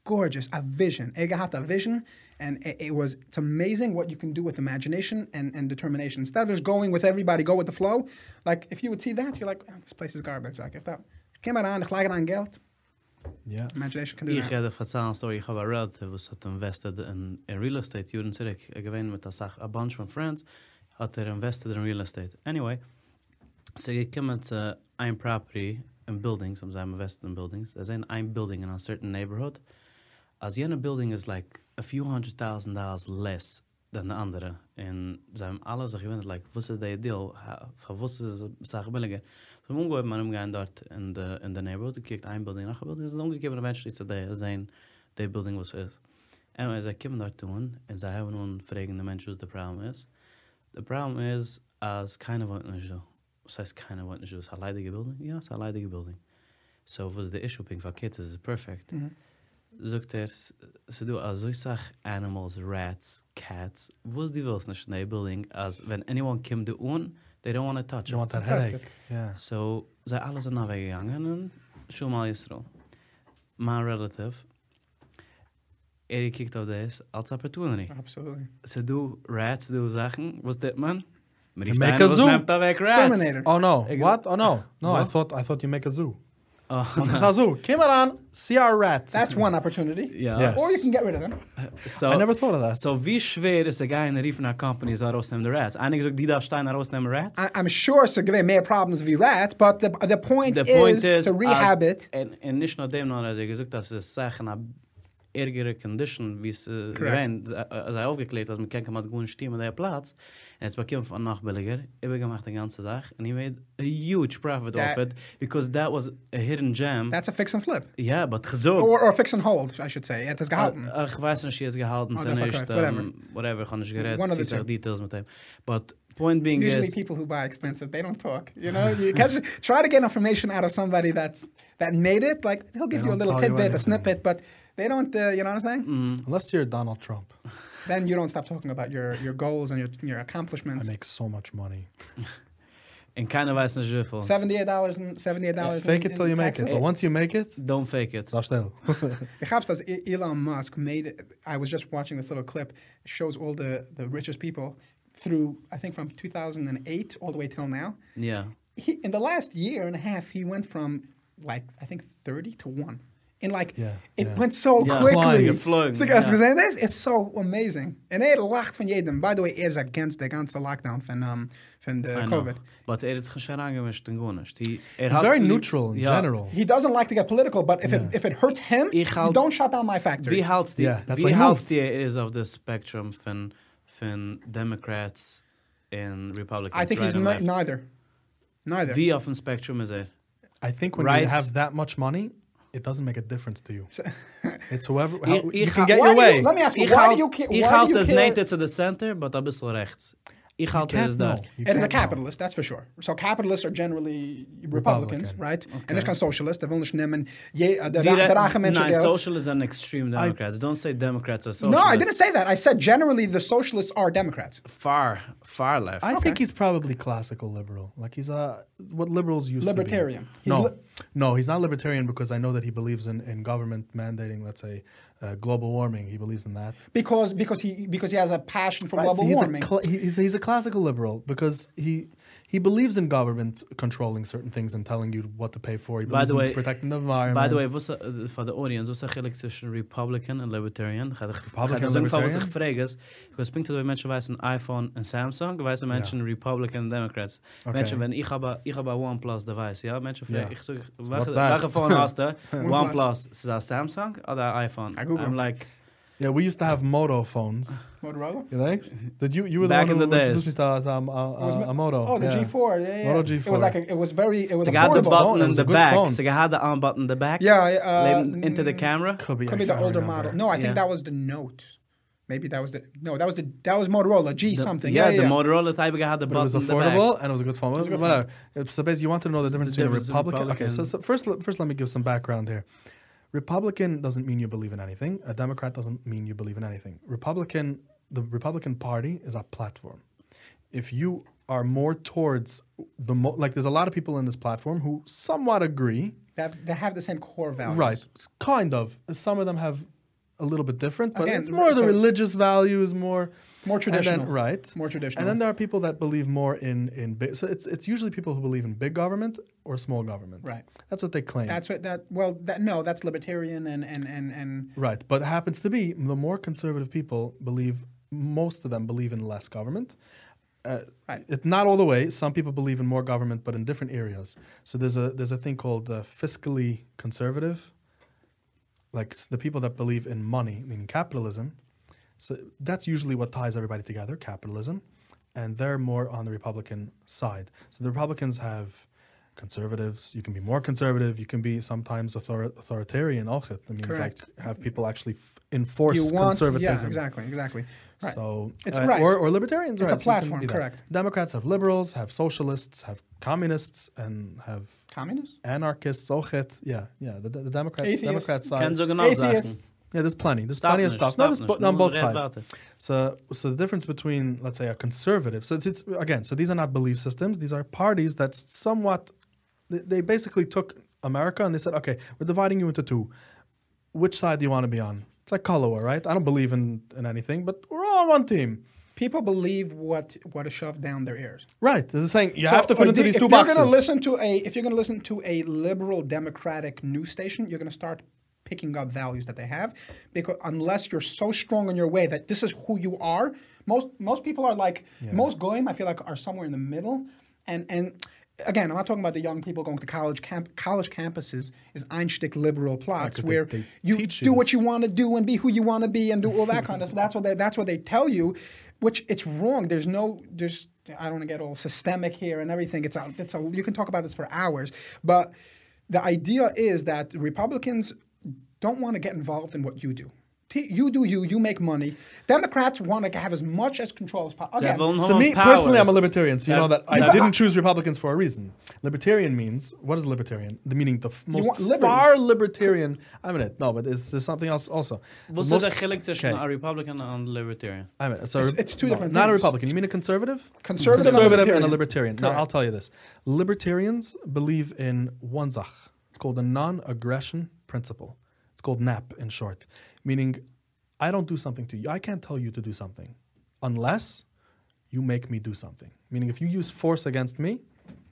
gorgeous, a vision. Ega had a vision, and it, it was it's amazing what you can do with imagination and, and determination. Instead of just going with everybody, go with the flow. Like if you would see that, you're like, "Ah, this place is garbage. Like if that came out on on geld,
Yeah.
imagination can do
Ich
that.
hätte verzeihen Story, ich habe ein Relative, was hat invested in, in Real Estate, Juden zurück, er gewinnt mit der Sache, a bunch von Friends, hat er invested in Real Estate. Anyway, so ich komme zu ein Property in Buildings, um sein invested in Buildings, er sehen ein Building in a certain neighborhood, als jene Building is like a few hundred thousand dollars less than the andere, und sie haben alle sich gewinnt, like, was ist der Deal, Ha- für was ist die Sache billiger. So man geht man umgehen dort in the, in the neighborhood, kijkt ein Building nach ein Building, es ist umgegeben, eventually zu der sein, der Building was ist. Anyway, sie kommen dort tun, und sie haben nun fragen die Menschen, was der Problem ist. The problem is, as keiner wohnt nicht so. Was heißt keiner wohnt nicht so? Ist ein leidiger Building? Ja, es ist ein leidiger Building. So, was the issue, pink verkehrt, ist es perfekt.
Mm-hmm.
Sogt er, s- se du, also ich sag animals, rats, cats, was die willst nicht in der Building, as when anyone kommt da un, they don't want to touch
You don't want
us.
that
Fantastic.
headache. Yeah.
So, sei alle sind nach weggegangen und schon mal Israel. Mein Relative, er kickt auf das als Opportunity.
Absolutely.
So du Rats, du Sachen, was das man? Mir
Make a zoo.
nimmt da weg Rats.
Exterminator.
Oh no!
Ex-
What? Oh no! No, I
What?
thought I thought you make a zoo.
Oh,
It's a zoo. Cameron, see our rats.
That's one opportunity.
ja.
Yes.
Or you can get rid of them.
So,
I never thought of that.
So wie schwer ist der Guy in der Rief nach Companies a rausnehmen der Rats? Einige sagt, die da stehen a rausnehmen Rats?
I, I'm sure so give may have problems with that, but the the point,
The
is,
point is,
to rehab
as-
it.
En, en nicht nur dem, nur als er gesagt, dass es Sachen ab ärgere Condition, wie es äh,
Correct.
gewähnt, als er aufgeklärt, dass man kann mit guten Stimmen der Platz, und es bekam von Nachbilliger, ich habe gemacht die ganze Sache, and he made a huge profit
That-
off it, because that was a hidden gem.
That's a fix and flip.
yeah, but gezogen.
Or, or fix and hold, I should say. It
Uh,
has gehalten.
Ah, Ich weiß nicht, sie ist gehalten,
Oh,
sie
that's okay,
nicht,
whatever.
ähm, whatever, ich habe nicht geredet,
One of
sie
the two.
sagt Details mit dem. But point being
Usually
is,
people who buy expensive, they don't talk. You know, you catch, try to get information out of somebody that's that made it. Like he'll give
They
you a
don't
little
tell you
tidbit, a
anything. Mm.
snippet, but they don't. Uh, you know what I'm saying?
Unless you're Donald Trump,
Then you don't stop talking about your your goals and your your
I
accomplishments.
make so much money.
in keiner weiß nicht wie viel.
Seventy-eight dollars and seventy-eight dollars.
Fake it till you make it. But once you make it,
Don't fake it.
so still.
It helps that E- Elon Musk made. I was just watching this little clip. It shows all the the richest people through. I think from 2008 all the way till now.
Yeah.
he in the last year and a half he went from like I think thirty to one. In like
Yeah,
it
yeah.
went so
Yeah,
quickly.
flying, it flowing,
It's like, as
yeah.
we say this, it's so amazing. And they lacht van jedem. By the way, it is against the ganze lockdown van um van the
I know.
COVID.
But er ist geschehen angemischt in Gornisch. Die, er
It's
hat
very
lieb-
neutral in
Ja.
general.
He doesn't like to get political, but if it if it hurts him,
Ich halt-
don't shut down my factory.
Wie halt's die,
Yeah, that's why
wie
he
halt's
moved.
die er ist auf das Spektrum von, von Democrats and Republicans?
I think
right
he's
and
ni-
left?
neither. Neither.
Wie auf dem Spektrum ist er?
I think when
Right.
you have that much money, it doesn't make a difference to you. it's whoever how,
Ich-
you
ich
can
ha-
get
Why
your
do you-
way.
let me ask you,
Ich
why do you
halt,
care?
ich
why
halt
do you
das
care?
Native to the center, but ein bisschen rechts. Ich halt das
Can't know.
dort.
You
It is a
can't know.
capitalist, that's for sure. So capitalists are generally Republicans,
Republican.
right? And it's kind of socialist. They've only named je, uh, the,
Die
ra-
Re-
the Rache Menschen
Nein,
Geld.
socialists and extreme Democrats. Don't say Democrats are
No,
socialists.
I didn't say that. I said generally the socialists are Democrats.
Far, far left.
I think he's probably classical liberal. Like he's a what liberals used
Libertarian.
to be.
He's
No,
li-
no, he's not libertarian because I know that he believes in, in government mandating, let's say, uh, global warming. He believes in that.
Because because he because he has a passion for
Right,
global
so he's
warming.
A cla- he- he's, he's a classical liberal because he he believes in government controlling certain things and telling you what to pay for. He
By
believes
the
in
way-
protecting the environment.
By the way, was uh, for the audience, was a gelijk tussen Republican and Libertarian? Ga ik
Republican
Republican Libertarian. Was ik
Libertarian?
vraag is, ik was pinkt dat mensen wijzen iPhone en Samsung, wijzen mensen Republican en Democrats. Mensen, wenn ik heb ik heb een OnePlus device, ja, mensen vragen,
Ja.
ik zeg,
what's
welke
that?
welke phone hast du? OnePlus, is dat Samsung of dat iPhone?
I Google.
I'm like,
yeah, we used to have Moto phones.
Motorola?
You next? Did you you were
Back
the
in
one who
the
introduced me
days.
to, to, um, uh,
It was
uh,
ma-
a Moto?
Oh, the
yeah.
G4. Yeah, yeah.
Moto
yeah.
G4.
It was like a, it was very it was
ze had de
affordable.
phone,
button
it
in
was
the
a good
back,
phone.
ze had de on button in the back,
Yeah, uh,
labeled into the camera.
Could be,
Could be
I
the
can't
older
remember.
model. No, I think
Yeah.
that was the Note. Maybe that was the no. That was the that was Motorola G
The-
something.
Yeah,
Yeah, yeah.
the Motorola type had the
But it was
button in the back.
affordable and it was a good phone.
was a good
Whatever. So basically, you want to know the difference between
difference
a
in
Republican. Okay, so,
Republican-
so first, le- first, let me give some background here. Republican doesn't mean you believe in anything. A Democrat doesn't mean you believe in anything. Republican, the Republican Party is a platform. If you are more towards the mo- like, there's a lot of people in this platform who somewhat agree,
They have, they have the same core values.
right? Kind of. Some of them have a little bit different, but
Again,
it's more the
so-
religious value is more
More
and
traditional.
then, right?
More traditional.
And then there are people that believe more in in big. So it's it's usually people who believe in big government or small government.
Right.
That's what they claim.
That's what that. Well, that, no, that's libertarian and and and and
right. But it happens to be the more conservative people believe. Most of them believe in less government. Uh,
Right.
It, not all the way. Some people believe in more government, but in different areas. So there's a there's a thing called uh, fiscally conservative. like s- the people that believe in money, meaning capitalism. So that's usually what ties everybody together, capitalism, and they're more on the Republican side. So the Republicans have conservatives. You can be more conservative. You can be sometimes author- authoritarian. Also, I mean, it's like
Correct.
have people actually f- enforce
you want.
conservatism.
Yeah, exactly, exactly. Right.
So uh,
It's right.
or, or libertarians.
It's a
right, so you can
platform,
be that.
correct.
Democrats have liberals, have socialists, have communists, and have
Communists,
anarchists. Ochet, yeah, yeah. The, the Democrats,
Atheists.
Democrat side.
Kann so genau sagen.
Atheists.
Yeah, there's plenty. There's
Stop
plenty of
nicht,
stuff.
stop
No, there's
nicht.
bo- on
Nur
both
red
sides.
weiter.
So, so the difference between, let's say, a conservative. So it's, it's again. So these are not belief systems. These are parties that somewhat. They, they basically took America and they said, okay, we're dividing you into two. Which side do you want to be on? It's like Kalawa, right? I don't believe in in anything, but we're all on one team.
people believe what what is shoved down their ears.
Right. They're saying you
So,
have to fit
uh,
into
the-
these
if
two
you're
boxes.
Gonna listen to a, if you're going to listen to a liberal democratic news station, you're going to start picking up values that they have because unless you're so strong on your way that this is who you are, most most people are like most goyim I feel like are somewhere in the middle and and again, I'm not talking about the young people going to college camp college campuses is Einstick liberal plots
'cause they-
where
they
you
teach you
do what
this.
you want to do and be who you want to be and do all that kind of that's what they that's what they tell you which it's wrong there's no there's i don't want to get all systemic here and everything it's a, it's a you can talk about this for hours but the idea is that republicans don't want to get involved in what you do T- you do you you make money democrats want to have as much as control as possible
Sie wollen
So me
haben
personally, I'm a
powers.
libertarian. So you
Yeah.
know that
Yeah.
I didn't choose Republicans for a reason. Libertarian means what is libertarian? The meaning the f- most
want liberty.
far libertarian. I mean it. No, but it's, there's something else also.
Wo
The
ist der
most-
Chilik zwischen
okay.
a Republican and a Libertarian?
I mean, so
It's- it's two different
Not a
things.
Republican. You mean a conservative?
Conservative and
and a
libertarian.
libertarian. No,
Correct.
I'll tell you this. Libertarians believe in one zach. It's called the non-aggression principle. It's called NAP in short, meaning I don't do something to you. I can't tell you to do something unless you make me do something. Meaning, if you use force against me,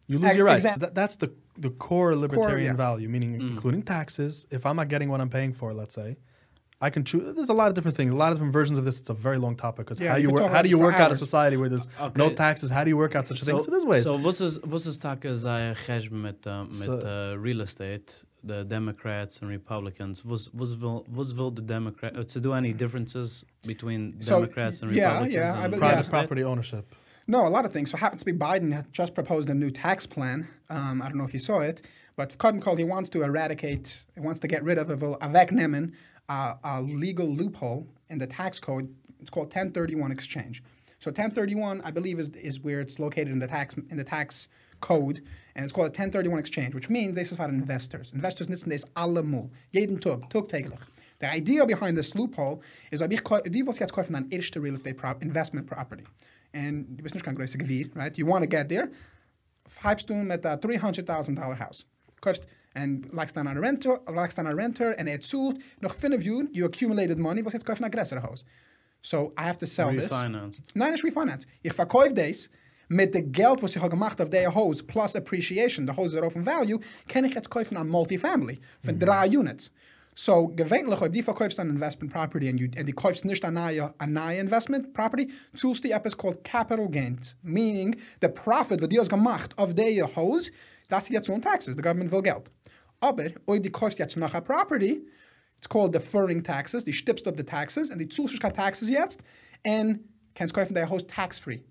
you lose
Ex-
your rights.
exact-
That, that's the the core libertarian
yeah.
value, meaning
Mm.
including taxes. If I'm not getting what I'm paying for, let's say, I can choose. There's a lot of different things, a lot of different versions of this. It's a very long topic because
Yeah,
how
you
you
could
work,
talk
how
about
do
this
you
for
work out a
hours.
society where there's
Uh,
no
okay.
taxes? How do you work out such things? So there's ways.
So was ist was ist Tage sei Chesh mit äh, mit
So-
äh, Real Estate, the Democrats and Republicans? Was was will was will the Democrat uh, to do any differences between
So,
Democrats and
yeah,
Republicans?
yeah, I
and
believe-
Private
real estate?
property ownership.
No, a lot of things. So it happens to be Biden had just proposed a new tax plan. Um, I don't know if you saw it, but Cotton Call, he wants to eradicate, he wants to get rid of a avec nemen, uh, a legal loophole in the tax code. It's called 1031 exchange. So 1031, I believe, is, is where it's located in the tax in the tax code, and it's called a 1031 exchange, which means they are investors. Investors nitzen is alle mul, jeden tug, tug täglich. The idea behind this loophole is, ob ich, kau- die was jetzt kaufen an erste real estate prop, investment property. And du bist nicht kein größer Gewinn, right? You want to get there. Fibst du mit a $300,000 house. Kaufst, and lagst dann an Renter, lagst dann an Renter, and er zult, noch 5 Jahren, you accumulated money, was jetzt kaufen ein größeres Haus. So I have to sell this.
Refinanced.
Nein, nicht refinanced. Ich verkaufe das mit dem Geld, was ich habe gemacht auf der Hose, plus Appreciation, der Hose darauf in Value, kann ich jetzt kaufen an Multifamily für drei Units. So, gewöhnlich, ob die verkaufst an Investment Property und, you, und die kaufst nicht an neue, an neue Investment Property, zählst die etwas called Capital Gains, meaning der Profit, was die hast gemacht auf der Hose, das ist jetzt so ein Taxes, der Government will Geld. Aber, ob die kaufst jetzt noch eine Property, it's called deferring taxes. Die stippst up the taxes and die zusätzlich keine taxes jetzt and kannst kaufen dein Haus tax free.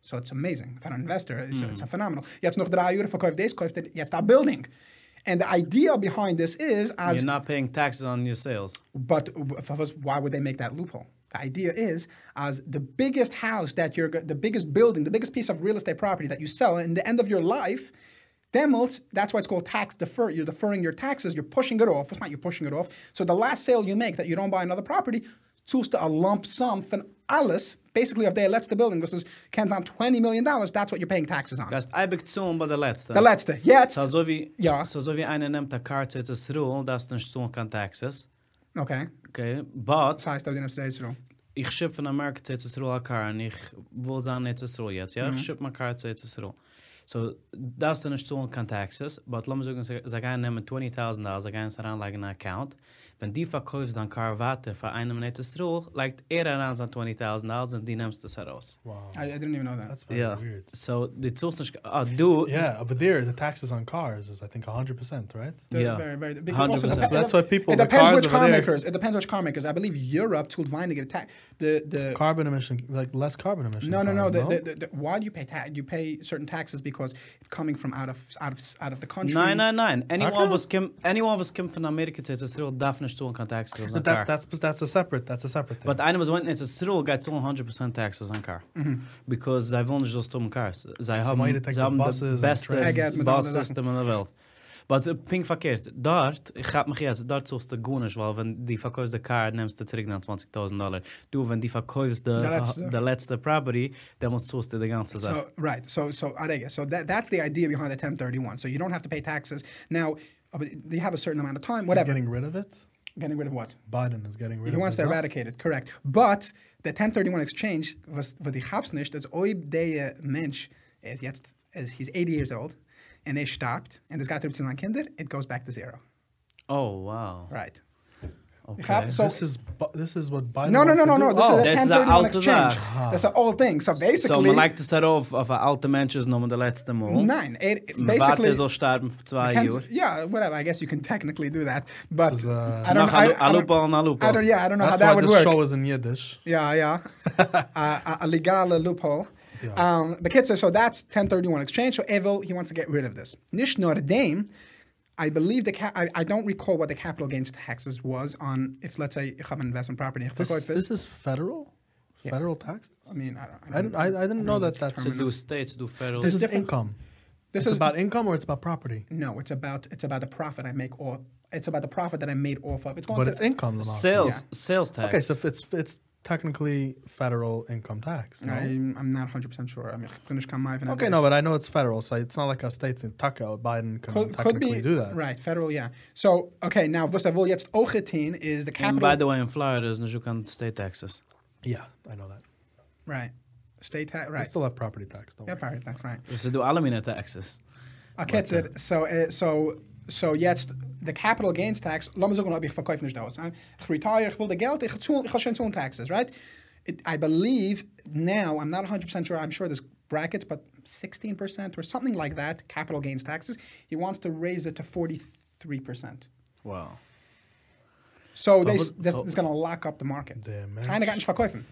So it's amazing. For an investor, it's, it's a phenomenal. Jetzt noch drei Jahre verkauft das, kauft er jetzt ein Building. And the idea behind this is, as
You're not paying taxes on your sales.
but for us, why would they make that loophole? The idea is, as the biggest house that you're, go- the biggest building, the biggest piece of real estate property that you sell in the end of your life, demult, that's why it's called tax defer. You're deferring your taxes. You're pushing it off. It's not you're pushing it off. So the last sale you make that you don't buy another property, tools to a lump sum from alles, basically of they lets the building, this is cans on $20 million, that's what you're paying taxes on.
Gast I bezahlen bei der letzte.
The letzte. Jetzt.
uh, So so wie
Ja.
so so wie einer nimmt eine Karte zu Ruhe, das nicht so kann Taxes.
Okay.
Okay, but
Das heißt, auf den Upstage Row.
ich schipp von Amerika zu Israel a car und ich will sein nicht Israel jetzt, ja? Ich schipp mein car zu Israel. So, das dann ist so ein kein Taxes, but lass mich sagen, sie sie gehen nehmen 20.000 Dollar, sie gehen es heranlegen in einen Account. Wenn die verkaufst dann car weiter für einen nicht Israel, legt er heran sein 20.000 Dollar und die nimmst das heraus.
Wow.
I, I didn't even know that.
That's very
Ja,
weird.
so, die zahlst nicht, ah, du,
Yeah, over there, the taxes on cars is, I think, 100%, right?
They're
Yeah.
Very, very, because
100%.
also it
So
depe-
that's why people-
It
the
depends
cars
which
over
car
there-
makers. It depends which car makers. I believe Europe took Vine to get a tax. The the
Carbon emission, like less carbon emission.
no no no.
cars,
The, the, the, the, why do you pay tax? You pay certain taxes because it's coming from out of out of out of the country.
Nein, nein, nein. Anyone
Okay.
was kim, anyone was kim von Amerika zu Israel darf nicht zahlen kein Taxes auf
But
sein
that's,
Car.
that's, that's a separate, that's a separate thing.
But einer was went in Israel geht zahlen 100% Taxes auf sein Car. Because sie wollen nicht so stummen Cars. Sie haben,
might take
sie
the
haben
buses
das
and
trains. I get
beste
mit
Bus-System in der Welt. But äh, pink verkehrt. Dort, ich hab mich jetzt, dort zahlst du gar nicht, weil wenn die verkaufst der Car, nimmst du zurück nach 20.000 Dollar. Du, wenn die verkaufst der
Der letzte.
der letzte Property, dann musst du die ganze Sache.
So right. So so Adega. So that that's the idea behind the 1031. So you don't have to pay taxes now. uh, but You have a certain amount of time. Whatever.
Getting rid of it?
Getting rid of what?
Biden is getting rid
He
of
wants
it.
to eradicate it, correct. But the 1031 exchange was what die gab's nicht, dass ob der Mensch is jetzt is he's 80 years old and er stirbt and es gab jetzt an Kinder, it goes back to zero.
Oh, wow.
Right. Ich
Okay.
hab, so,
this is bu- this is what Biden.
no, no,
wants
no,
to
no,
do?
no. This
Oh,
is a
this is a
1031
alte
exchange.
Sache.
That's an old thing. So
So,
basically,
man legt es darauf, auf ein alter Mensch ist nochmal der letzte Mal.
nein, it, it
Man warte,
basically.
er soll sterben für zwei
Cans-
Jahre.
yeah, whatever. I guess you can technically do that, but
is, uh,
I don't.
Nach
I,
Alu-
I,
Alupa
don't,
und Alupa.
I don't. Yeah, I don't know
That's
how that
why
would
this
work.
show is in Yiddish.
Yeah, yeah. uh, a- a legal loophole. Um, but kids, so that's 1031 exchange. So Evil, he wants to get rid of this. Nish Nor Dame, I believe the ca- I, I don't recall what the capital gains taxes was on if let's say you have an investment property.
This is, this is federal, federal taxes.
I mean, I don't. I
I didn't, I, I didn't know that. That's
To do states, to do federal.
this is
different.
income.
This
it's
is-
about income or it's about property.
no, it's about it's about the profit I make or it's about the profit that I made off of. It's going
But
to,
it's income. Lamar.
Sales,
Yeah.
sales tax.
Okay, so if it's it's technically federal income tax. no?
I'm, I'm not 100% sure. I mean, Nish Kam Maiv and
Okay,
others.
no, but I know it's federal, so it's not like a state in Taka. Biden can
could, could
technically
be
do that.
right federal yeah so okay now what I will jetzt auch getan is the
And
capital
by the way, in Florida, there's no can state taxes.
Yeah, I know that.
right state tax
I
right
still have property tax. Don't
yeah
worry.
pirate tax right
So do aluminum taxes.
okay so so uh, so so jetzt the capital gains tax lass mal sagen ob ich verkaufe nicht aus I'm- ich retire ich will the Geld ich zahl ich schon zahlen taxes right It- I believe now I'm not 100% sure I'm sure there's brackets but 16% or something like that capital gains taxes he wants to raise it to 43%
Wow.
So, they,
what-
that's,
so-
it's going to lock up the market.
Damn, man.
Keiner kann nicht verkaufen.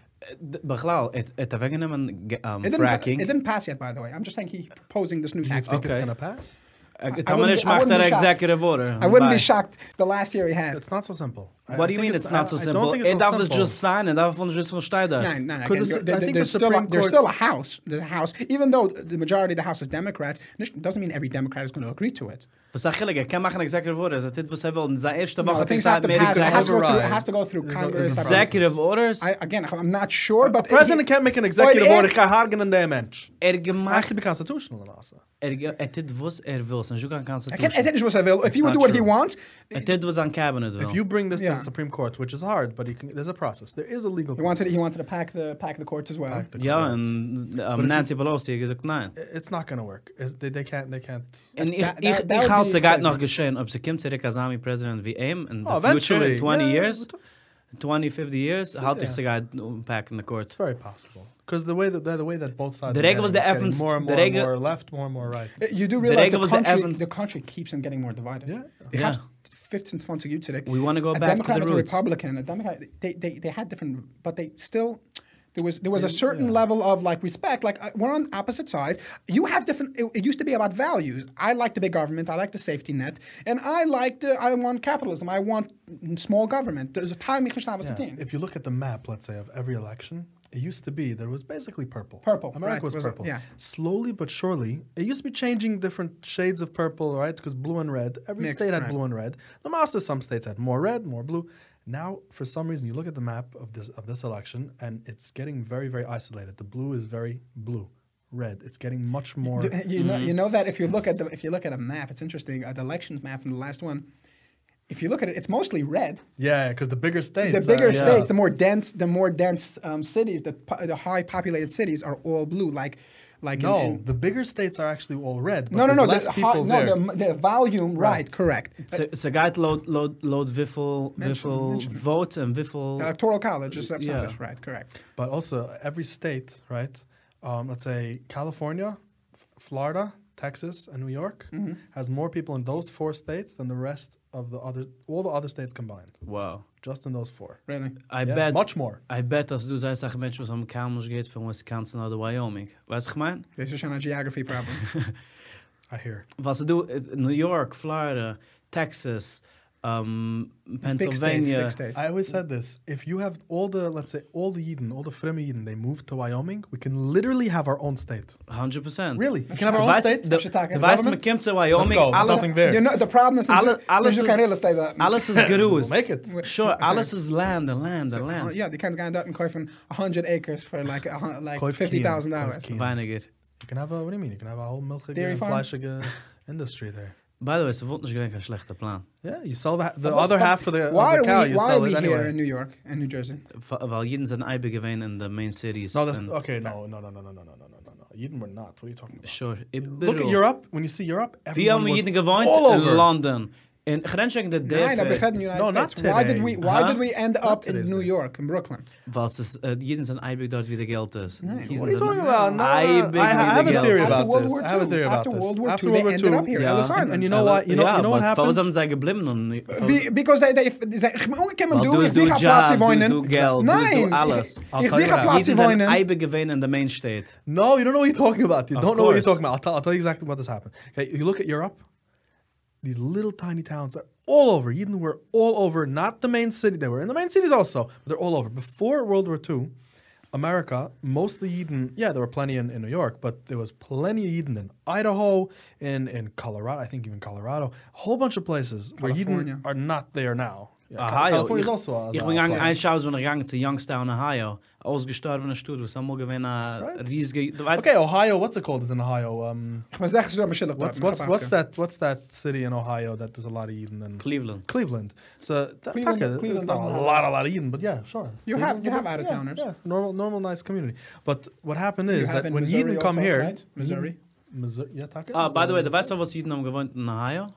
Bechlal, it it a weggenommen ge- um,
It didn't, pa- it
fracking.
didn't pass yet, by the way. I'm just saying he's proposing this new tax.
Think it's
Okay.
gonna pass?
Äh,
I wouldn't
Tamanish
be- I
macht
wouldn't
der
be shocked.
executive order.
I wouldn't
Bye.
be shocked. The last year he had.
It's not so simple. I- I
What do you
think
mean it's not so
I- I don't
simple?
think it's
It
so
darf es
simple.
just sein, it darf uns just von Steider.
Nein, nein, nein. Again,
Could
there-
the Su-
there-
I think
there's,
the
still a,
Supreme
there's
Court-
still a house. There's a house, even though the majority of the house is Democrats. It doesn't mean every Democrat is going to agree to it.
Was sag ich, er kann machen executive orders. Das ist was er will. In seiner ersten
No,
Woche
things
hat
have to
mehr
pass. It has to go through, it
override.
has to go through
There's a-
Congress.
there's a
I-
executive orders.
I, again, I'm not sure, but
The president can't make an executive
Well,
order.
it-
Can't hargen an damn mensch.
Er
It has
gemacht
to be constitutional and also.
Er ge- er did was er will, so you
I
can
can't, I
constitution.
think it's what I will. If he would
not
do what he
true.
wants,
Er did was on cabinet will.
If you bring this to
Yeah.
the Supreme Court, which is hard, but you can, there's a process. There is a legal.
he wanted he
process.
wanted to pack the pack the courts as well.
ja, und um, Nancy Pelosi hat gesagt nein.
It's not going to work. It's- They, they can't. They can't.
Und ich,
that-
ich,
that would
ich halte
be
sie gerade noch
crazy.
geschehen, ob sie kommt zurück als Army-President wie ihm in the
Oh,
future,
eventually.
in 20
Yeah,
years,
we don't-
20, 50 years, halte ich sie gerade unpack in the court.
It's very possible because the way that the, the way that both sides.
The
are
regel was
getting,
the
it's getting
Evans-
more and
the
more, and
regel-
more left, more and more right.
You do realize the
regel was the
country,
Evans-
the country keeps on getting more divided.
Yeah.
They
Yeah.
have 15 sponsor you today.
We wanna go
a
back to the
Democrat and a
roots.
Republican, a Democrat, they, they, they had different, but they still, there was there was a certain level of like respect. Like uh, we're on opposite sides. You have different. It, it used to be about values. I like the big government. I like the safety net, and I like the. I want capitalism. I want mm, small government. There's a time Mikhlishnah was
Yeah.
the team.
If you look at the map, let's say of every election, it used to be there was basically purple.
Purple,
America
right,
was
was it-
purple.
yeah.
Slowly but surely, it used to be changing different shades of purple, right? Because blue and red. Every
Mixed,
state had
right.
blue and red. The master some states had more red, more blue. Now, for some reason, you look at the map of this of this election, and it's getting very very isolated. The blue is very blue. Red. It's getting much more.
You know, you know that if you look at the if you look at a map, it's interesting. Uh, the elections map in the last one, if you look at it, it's mostly red.
Yeah, because the bigger states.
The bigger
uh, yeah.
states, the more dense, the more dense um, cities, the po- the high populated cities are all blue. Like, like in-
No,
in-
the bigger states are actually all red. But
no, no, no,
Less
the, hi-
people
no,
there.
the, the volume, right, correct. Uh,
So, so guide load, load, load wiffle, wiffle vote and wiffle.
The electoral uh, college is
yeah.
established, right, correct.
But also, every state, right? Um, let's say California, F- Florida, Texas, and New York
Mm-hmm.
has more people in those four states than the rest of the other, all the other states combined.
Wow.
Just in those four.
Really?
I
Yeah,
bet.
much more.
I bet, dass du sagst, dass Menschen, was am Kamers geht von Wisconsin oder Wyoming. Weißt du, ich mein?
This is a geography problem.
I hear.
Was du, äh, New York, Florida, Texas, ähm,
big states,
Pennsylvania.
big states.
I always said this: if you have all the, let's say, all the Yidden, all the Fremi Yidden, they move to Wyoming, we can literally have our own state.
100%.
Really, we can have our own
Weißt-
state.
Du
Shiitake.
du weißt, man
Government?
kommt zu
Let's
Wyoming,
go. There's
alles,
nothing there.
You know, the problem is,
Alle-
since
alles
you
is-
can't real estate, uh,
alles ist Gruß.
We'll make it. Oh,
Sure, alles ist Land, and Land, and Land.
yeah, they can't go out and kaufen 100 acres for like, a, hun- like
Kauf Keen, kauf
$50,000.
Keen.
Weiniger.
You can have a. What do you mean? You can have a whole milchige
Dairy
and
farm?
fleischige industry there.
By the way, sie wollten nicht gewinnt, kein schlechter Plan.
Yeah, you sell the, the
What's
other
the-
half of the, of
Why
the cow.
are we,
you
why
sell
are we
it
here
anyway.
in New York and New Jersey?
F- Weil jeden sind Eibe gewinnt in the main cities.
No, that's
and-
okay. No, no, no, no, no, no, no, no, no, no. Eden were not. What are you talking about?
Sure.
Look at Europe. When you see Europe,
Wir
everyone
haben
was
jeden gewohnt
all
in
over.
London. In Grenzschenk der
Nein, aber ich
DF,
rede in United
No, not
States. Why did
today.
we Why
Huh?
did we end up in
today's
New
day.
York, in Brooklyn?
weil es ist, äh, jeden sind Eibe dort wieder Geld ist. Jeden
What are
sind
you talking about? No, no, no.
Eibe
I, I have
wieder
a theory
Geld.
After
about
World
this.
War
I have a
II.
theory about
After
this.
World War
After
II, they
World War
ended
II,
up here,
Ja.
Ellis
And-
Island.
And you know what? You know,
ja,
you know what
aber warum sind
happened?
sie geblieben? Und,
Wie, because they, they, they, they, ich meine, kann man
Weil
du, ich
du- du
sehe Platz,
Job,
sie
du-
wohnen.
du Geld, du-
Nein,
du alles.
ich, ich sehe
Alter,
Platz, sie
jeden sind
wohnen.
Eibe gewinnt in der Main State.
No, you don't know what you're talking about. You
Of
don't know what you're
course.
talking about. I'll tell, I'll tell you exactly what this happened. Okay, you look at Europe. These little tiny towns are all over. Eden were all over. Not the main city. They were in the main cities also, but they're all over. Before World War II, America, mostly Eden. Yeah, there were plenty in, in New York, but there was plenty of Eden in Idaho, in in Colorado. I think even Colorado. A whole bunch of places where
California.
Eden are not there now. Yeah, Cal-
Ohio.
California
Ich,
is also. uh, a-
ich
a
bin gegangen,
place.
ein Schaus bin ich gegangen zu Youngstown, Ohio. Ausgestorbener Stuhl, was haben wir gewinnt, ein riesiger... Du weißt,
Okay, Ohio. What's it called? Is in Ohio. Um,
Man sagt, es ist aber schillig dort.
What's what's what's that what's that city in Ohio that there's a lot of Eden and
Cleveland.
Cleveland. So that
Cleveland-
Taka, there's
Cleveland
not
doesn't
a
have
lot a lot of Eden, but yeah, sure.
You have- you have out-of-towners.
Yeah, yeah, normal normal nice community. But what happened
You
is
have
that
in
when
Missouri
Eden come
also,
here,
right? Missouri.
Missouri, yeah, Taka.
Ah, by the way, du weißt du, was Jeden haben gewohnt in Ohio?
way,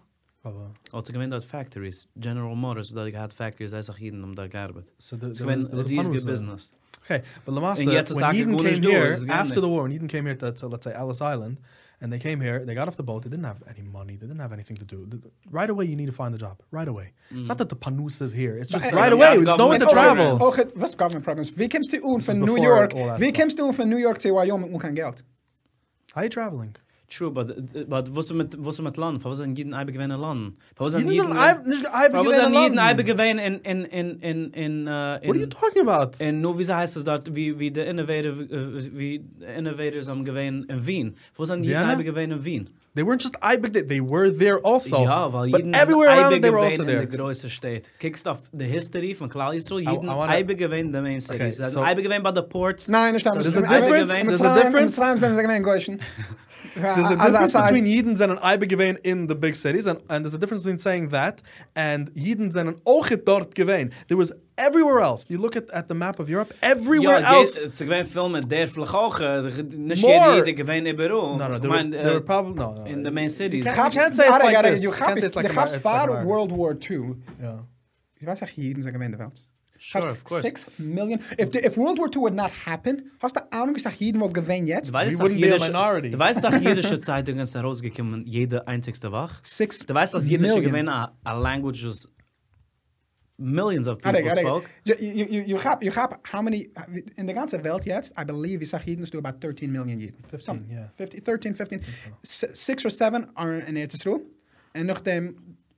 Als ze gewend uit factories, General Motors, dat ik had factories, hij zag hier om daar um gearbeitet.
so
Ze
the, there was,
gewend
there
een
was
riesige
Panwas there.
business.
Okay, but
And yet
Lamasa,
it's
when
like a
Eden
golden
came
door,
here
it's
after
gone.
the war, when Eden came here to, to let's say Ellis Island, and they came here, they got off the boat. They didn't have any money. They didn't have anything to do. Th- Right away, you need to find a job. Right away.
Mm.
It's not that the panus is here. It's just
But-
right
Yeah,
away. There's nowhere
government
to
program.
travel.
Auch, was government problems? Wie kommst du um
is
von New
before
York?
all that
Wie
stuff.
kommst du um von New York zu Wyoming und kein Geld?
How are you traveling?
True, but, but was mit, was mit Land? Warum sind jeden Eibe gewähne Land? Warum sind
Jeden
jeden
sind Eib- nicht Eibe
Warum
gewähne
sind jeden
Land.
Eibe gewähne in, in, in, in, in, äh,
What are you
in,
talking about?
in, nur wie sie heißt es dort, wie, wie der Innovative, äh, wie die Innovators am gewähne in Wien. Wo sind jeden
Vienna?
Eibe gewähne in Wien?
They weren't just Eibig, they- they were there also.
ja, weil
but
jeden sind
everywhere around
Eibe
it, they were
gewähne
also
in
there.
der größte Stadt. Kickst auf the history von Klal Yisrael, jeden
I wanna-
Eibe gewähne der Main City.
Okay,
Sie sind
so-
Eibe gewähne bei the ports.
Nein, ich
So
glaube,
there's
a difference, there's a difference.
Mitzrayim sind sie gewähnt, Goyschen.
There's a difference between Yidens and an Eibig gewähne in the big cities, and, and there's a difference between saying that and Yidens and an Ochet dort gewähne. There was everywhere else. You look at, at the map of Europe, everywhere
Ja,
else.
ze gewen film met der vlagoge, nicht
More.
jeder gewen in Peru.
no, no,
Ich
there,
mein,
were,
äh,
there were probably. No, no.
in the main cities.
can't- you can't say it's like this. You can't say it's like
Du
a-
hast
it's like
vor
a-
World War II,
yeah.
ich weiß nicht, jeden sind gewähnt der Welt.
Sure, of course.
Six million. If, the, if World War II would not happen, hast du Ahnung, ich sag jeden wollte gewinnen jetzt?
Weiß
We wouldn't be a minority.
Du weißt, dass jüdische Zeitungen sind rausgekommen, jede einzigste Wach.
Six
Du weißt, dass jüdische
million.
gewinnen a, a language was millions of people
Adek, Adek.
spoke.
Je- je- je- je gaat- Je gaat, how many, in de ganze Welt jetzt, I believe, ich sag jeden, es do about 13 million Jiden. 15,
yeah.
50, 13, 15. S- Six or seven are in Erzsruel. En nog dem,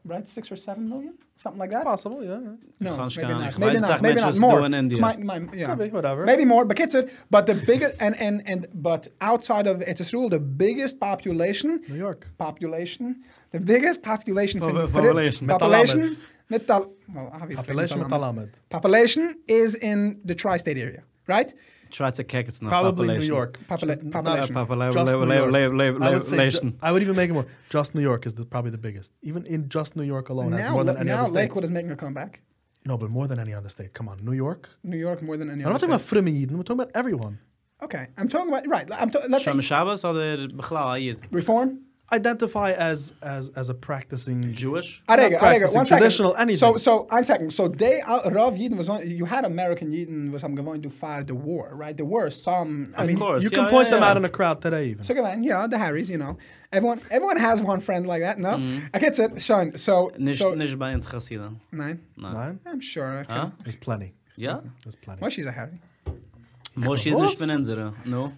right, six or seven million? Something like that?
Possible, yeah. yeah.
No,
Gansch
maybe
gar
not.
nicht.
Maybe
Weiß
not.
sag
Maybe
Mensch,
not
was
more.
du in India.
My, my, yeah.
Could be, whatever.
Maybe more, but kids it. But the biggest and and and but outside of Israel, the biggest population.
New York.
Population. The biggest population. for-
Pop-
for-
population.
Population. Metal. Well, obviously.
Population
Metalamud.
Metalamud.
Population is in the tri-state area, right?
try to kick it's not
Probably
population.
New York.
Popula-
Just-
population.
Uh, popula-
Just
la-
New
la-
York.
la- la- la-
I would say
Population.
ju- I would even make it more. Just New York is the, probably the biggest. Even in just New York alone has
now,
more than any
now
other state.
Lakewood is making a comeback.
No, but more than any other state. Come on, New York.
New York more than any
I'm
other.
not talking about Frimmy Eden. We're talking about everyone.
state. Okay, I'm talking about right. I'm ta- let's say
Sham Shabbos oder בכלל Ayid?
reform.
Identify as as as a practicing Jew.
Jewish?
Arega,
Not
Arega, one
practicing
second.
traditional anything.
So, so, one second. So, they, uh, Rav Yidden was on, you had American Yidden was, I'm going to fight the war, right? There were some, I
Of
mean,
course.
You
yeah,
can
yeah,
point them
yeah.
out in a crowd today, even.
So, come on, you know, the Harrys, you know. Everyone everyone has one friend like that, no?
Mm-hmm.
I get it, Sean. So,
Nicht,
so
nicht bei uns Chassiden.
nine?
Nine?
I'm sure. I
Huh?
can.
There's plenty.
Ja?
There's plenty.
Well, she's a Harry.
Moshe
course.
nicht von unsere. No?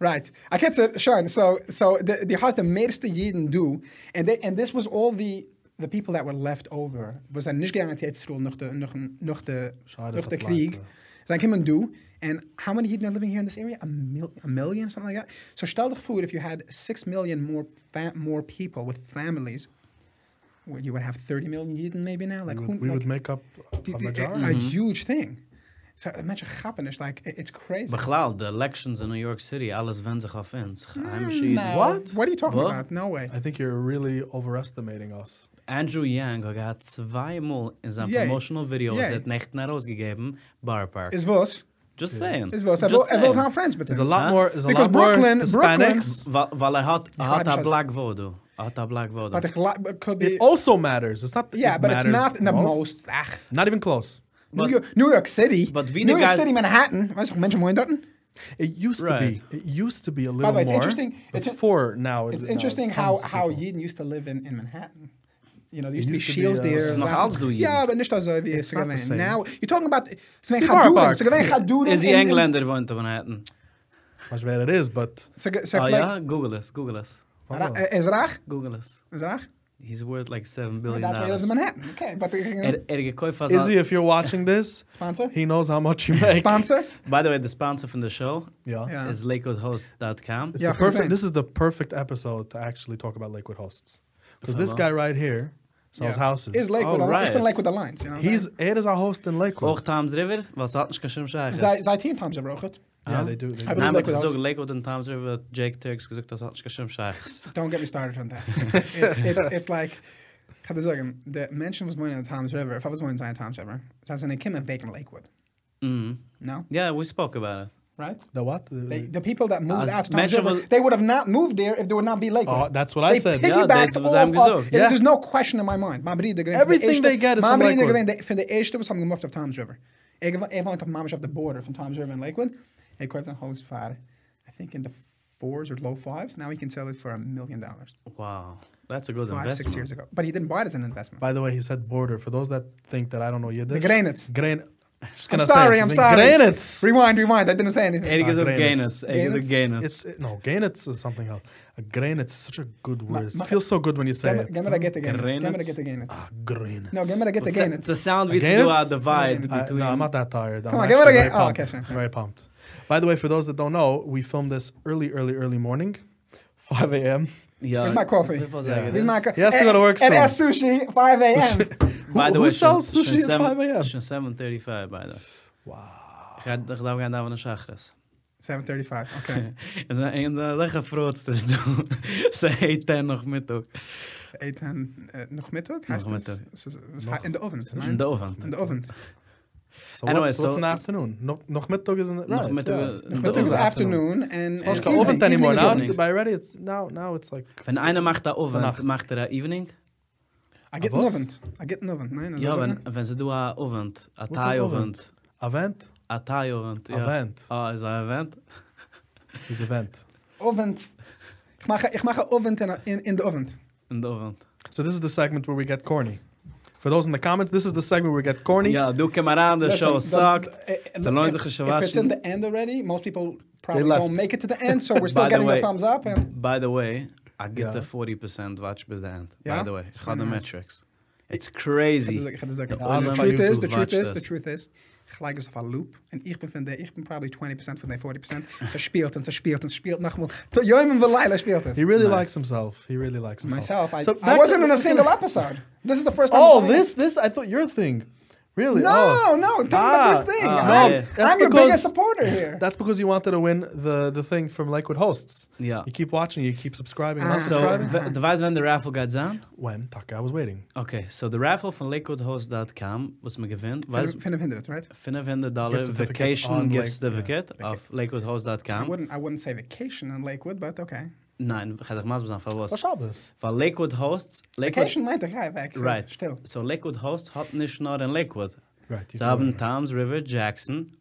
Right. I get it, Sean. So, so the, the house the meeste Yidden do, and they, and this was all the, the people that were left over. We zijn niet gegaan naar het er nog de, nog, nog de,
Schade,
nog
dat
de
blijkt,
krieg.
eh.
Zijn geen do. And how many Yidden are living here in this area? A, mil a million, something like that. So stel dich voor, if you had six million more fa- more people with families, well, you would have 30 million Yidden maybe now. Like
we
who,
would, we
like,
would make up
d-
a
d- a, a
majority.
huge thing. So imagine happen. It's like it- it's crazy.
Bechlal, the elections in New York City, alles wenden sich auf uns.
Hmm,
Heimische
No.
Jiden.
What?
What are you talking
What?
about? No way.
I think you're really overestimating us.
Andrew Yang hat gehad zweimal in seinem
Yay.
promotional Video
Yay.
seit Nächten herausgegeben, Bar Park.
Is was.
Just saying.
Is was. I will,
Just
I will
saying.
sound friends with
There's a
them.
lot
Huh?
more. There's a
Because
lot more
Brooklyn-
Hispanics.
Weil, weil er hat, er
Got
hat
him,
a
Shaz-
black voodoo. Er hat a black voodoo.
But it li- but could be.
It also matters. It's not.
yeah,
it
but it's
matters
not the most. Ach,
Not even close.
New, York, New York City.
but we
New York
guys-
City, Manhattan. Weißt du, Menschen wohnen dort?
It used
Right.
to be. It used to be a little
the way, it's
more.
interesting- it's-
Before now, it-
It's
now it
interesting how
comes to
how
nou? people.
Yidden used to live in, in Manhattan. You know, there used,
used
to
to
be
be,
shields
uh,
there.
It's not
Sachen.
house do Yidden.
Yeah, but nicht so wie
It's not the
Segavin.
same.
Now, Nou, you're talking about. Segavin
the bar
Chaduden.
park.
Segavin Chaduden.
Is he
in- in-
Engländer wohnt in Manhattan?
Much better it is, but
Sega- so
Oh,
Ah
like-
ja? Google es, Google es.
Ra- eh, Ezrach?
Google es.
Oh,
Ezrach?
He's worth like 7 billion
That's why he lives in
dollars.
Manhattan. Okay, but. uh,
Er, er gekauft als...
Izzy, if you're watching this,
Sponsor?
he knows how much you make.
Sponsor?
By the way, the sponsor from the show
Yeah.
Yeah.
is lakewoodhost.com.
It's
Yeah,
the perfect.
consent.
This is the perfect episode to actually talk about Lakewood hosts because this
Hello.
guy right here sells
Yeah.
houses.
Is Lakewood.
Oh,
on- It's
right.
been Lakewood Alliance. You know what I'm
He's it is our host in
Auch
Lakewood.
Thames River, was hat nicht kein Schirmscheiches.
saying? Sei- sei Team Times haben wir auch gut.
yeah, they do. They
I
do.
believe-
Nein, ich
Lakewood
gesagt,
House.
Lakewood und Thames River hat Jake Turks gesagt, das hat nicht kein Schirmscheiches.
Don't get me started on that. it's, it's, it's like, ich hatte sagen, the Menschen was wohnen in Tom's River, if I was wohnen in Tom's River, das heißt, they came in Bacon Lakewood.
Mhm.
No?
Yeah, we spoke about it.
Right?
The what? The-
They, the people that moved
As
out to Tom's
Menschen
River,
was-
they would have not moved there if there would not be Lakewood.
Oh, that's what
they
I said.
pick-
piggybacked
that's what I'm
off
gesagt.
of-
Yeah.
There's no question in my mind. Man bringt die gewinnt von der
Everything
ersten-
they get is
man
from
bringt die
Lakewood.
gewinnt Von der ersten, was haben wir gemacht auf Tom's River. Er gew- er wohnt auf Mamisch auf der Border von Tom's River in Lakewood. Er kauft ein Haus für, I think in the fours or low fives. Now he can sell it for a million dollars.
Wow, that's a good
Five, six years
investment.
ago. But he didn't buy it as an investment.
By the way, he said border. For those that think that I don't know Yiddish,
Grenitz.
Grain. Just
I'm
gonna say
sorry,
it.
I'm
The
sorry.
Granitz.
Rewind, rewind. I didn't say anything.
Er gesagt
Gaynitz.
Gainus, er gesagt Gainus.
It's no Granitz is something else. A granitz is such a good word.
ma-
it feels so good when you say
Gamma
it.
Gamera get the Gainitz.
Grenitz?
Gamera get the Gainitz.
Ah, granitz.
No, Gamera get the
It's a
Gainitz.
sound we
Gaynitz?
do a divide
I,
between...
no, I'm not that tired.
Come
I'm
on, give it a
actually
go.
very
Oh,
pumped.
okay, sure.
Very pumped. By the way, for those that don't know, we filmed this early, early, early morning, 5 a.m.
Yeah.
Where's my coffee?
Before
Yeah.
I get
He's
it.
my co-
He has to go to work
And
soon.
S sushi, 5 a.m.
By
Who-
the
who
way,
sells
schon-
sushi
schon
at 5
7
a.m.?
Schon 7.35, by the way.
Wow.
Ich had- ich glaube, ich habe eine Schachres.
7:35. Okay.
Und dann lege frotzt es, du. Sie hat dann noch Mittag.
Eet en eh, nog middag? Hij is
Nog
dus-
middag.
is- is- is hij in de oven.
In der Ofen.
In de oven.
So
Anyway,
what's, what's
so-
an afternoon? No, noch mittag is in the,
Noch
right,
Mittag-
yeah.
in der
But it was
Ofen.
afternoon and
It's
and
not open
evening.
anymore.
Evening
Now
is
it's
open.
by ready. It's now now it's like.
Wenn einer macht da
Nacht.
Ofen, macht er ein Evening?
I get an
Was?
oven. I get an oven. Nee, dat
Ja,
was
wenn,
een-
wenn sie du ein Oven, ein
ein
Thai-Oven.
Oven? Event.
Ein Thai-Oven, ja.
Event.
Ah, ist ein Event?
Is event.
oven. Ik mag- Ik mag een oven in- in in de oven.
Ein Oven.
So this is the segment where we get corny. For those in the comments, this is the segment where we get corny.
Ja, du komm heran, der
Listen,
Show
the-
sagt,
eh, eh,
sie lohnt
if- If
sich
it's in
schwatschen.
the end already, most people probably
left.
don't make it to the end, so we're
By
still
the
getting the
way-
thumbs up. and-
By the way, I get
Ja.
the 40% watch bis the end.
Ja?
By the way, ich habe die
nice.
Metrics. It's crazy.
Ik ga het zeggen.
Ja,
uh, The
maar
truth
YouTube
is, the truth
watch
is, the
this.
truth is. Gelijk is op een loop. En ik ben, van de, ik ben probably 20% van de 40%. ze speelt en ze speelt en ze speelt nogmaals. Tot Joim en Leila speelt het.
He really likes himself. He really likes himself.
Myself, I,
So
I
back
wasn't
to-
in a single episode. This is the first time.
Oh,
I'm doing it.
this this I thought your thing. Really?
No,
Oh.
no, talk about this
Ah,
thing.
ah,
I'm,
yeah.
That's
I'm your
because-
biggest supporter here.
That's because you wanted to win the the thing from Lakewood hosts.
Yeah.
You keep watching. You keep subscribing.
Ah.
not
So,
subscribing.
the the weißt, wenn der Raffle geht sein?
when Taka, I was waiting.
Okay, so der Raffle von lakewoodhost.com, was man gewinnt, weiß,
Finn of Hindred, right?
500 Dollar
Gift certificate
Vacation
on
Gift
Lake-
Certificate auf
I
lakewoodhost.com.
wouldn't, I wouldn't say vacation in Lakewood, but okay.
Nein, ich hätte ich mal so sagen,
Was
was.
Shabbos?
Weil Lakewood Hosts, Lakewood,
Vacation Land, okay, back.
right.
Still.
So Lakewood Hosts hat nicht nur in Lakewood.
Right.
Sie
you know
haben
it.
Towns River, Jackson,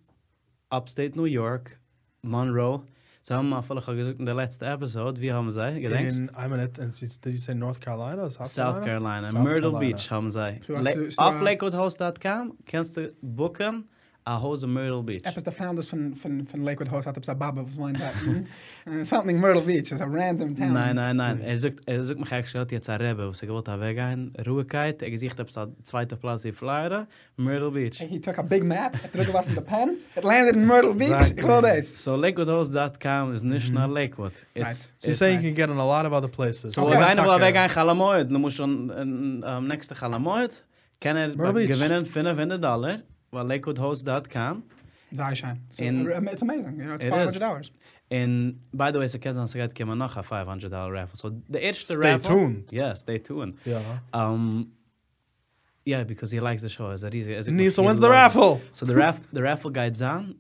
Upstate New York, Monroe. Sie haben mal völlig gesagt in der letzten Episode, wie haben sie gedenkst?
In, I'm in it, and it's, did you say North Carolina? or South,
South Carolina,
South
Myrtle
Carolina.
Beach haben sie.
So,
Le-
dus,
so, so,
Auf
eh,
uh,
lakewoodhost.com kannst du booken a Hose Myrtle Beach.
Epis, the founders from, from, from Lakewood Host, out of Sababa, was one that. mm. Uh, Something Myrtle Beach is a random town.
Nein, nein, nein. Er sagt, er sagt mich eigentlich, er hat jetzt ein Rebbe, was er gewollt hat weggehen. Ruhigkeit, er gesagt, er ist auf zweiter Platz in Florida, Myrtle Beach.
He took a big map, it took it out from the pen, it landed in Myrtle Beach. Exactly. All days.
So lakewoodhost.com is
Mhm.
nicht nur Lakewood. It's,
So you're
it's-
saying you can get in a lot of other places.
So
Okay.
wenn einer will
Taka.
weggehen Chalamoid, dann muss schon ähm, am nächsten Chalamoid, kann er
Myrtle Beach.
gewinnen 500 Dollar, weil lakewoodhost.com.
Zaishan. So,
In-
um, it's amazing. You know, it's
It
$500.
is. And by the way, so kann es geht, kommen noch ein 500 Dollar Raffle. So der erste
Stay
Raffle...
tuned.
Yeah, stay tuned.
Yeah.
Um, yeah, because he likes the show. Is that easy? Is it-
Nisa
he
wins the
loves it.
raffle.
So the raff the raffle guides on.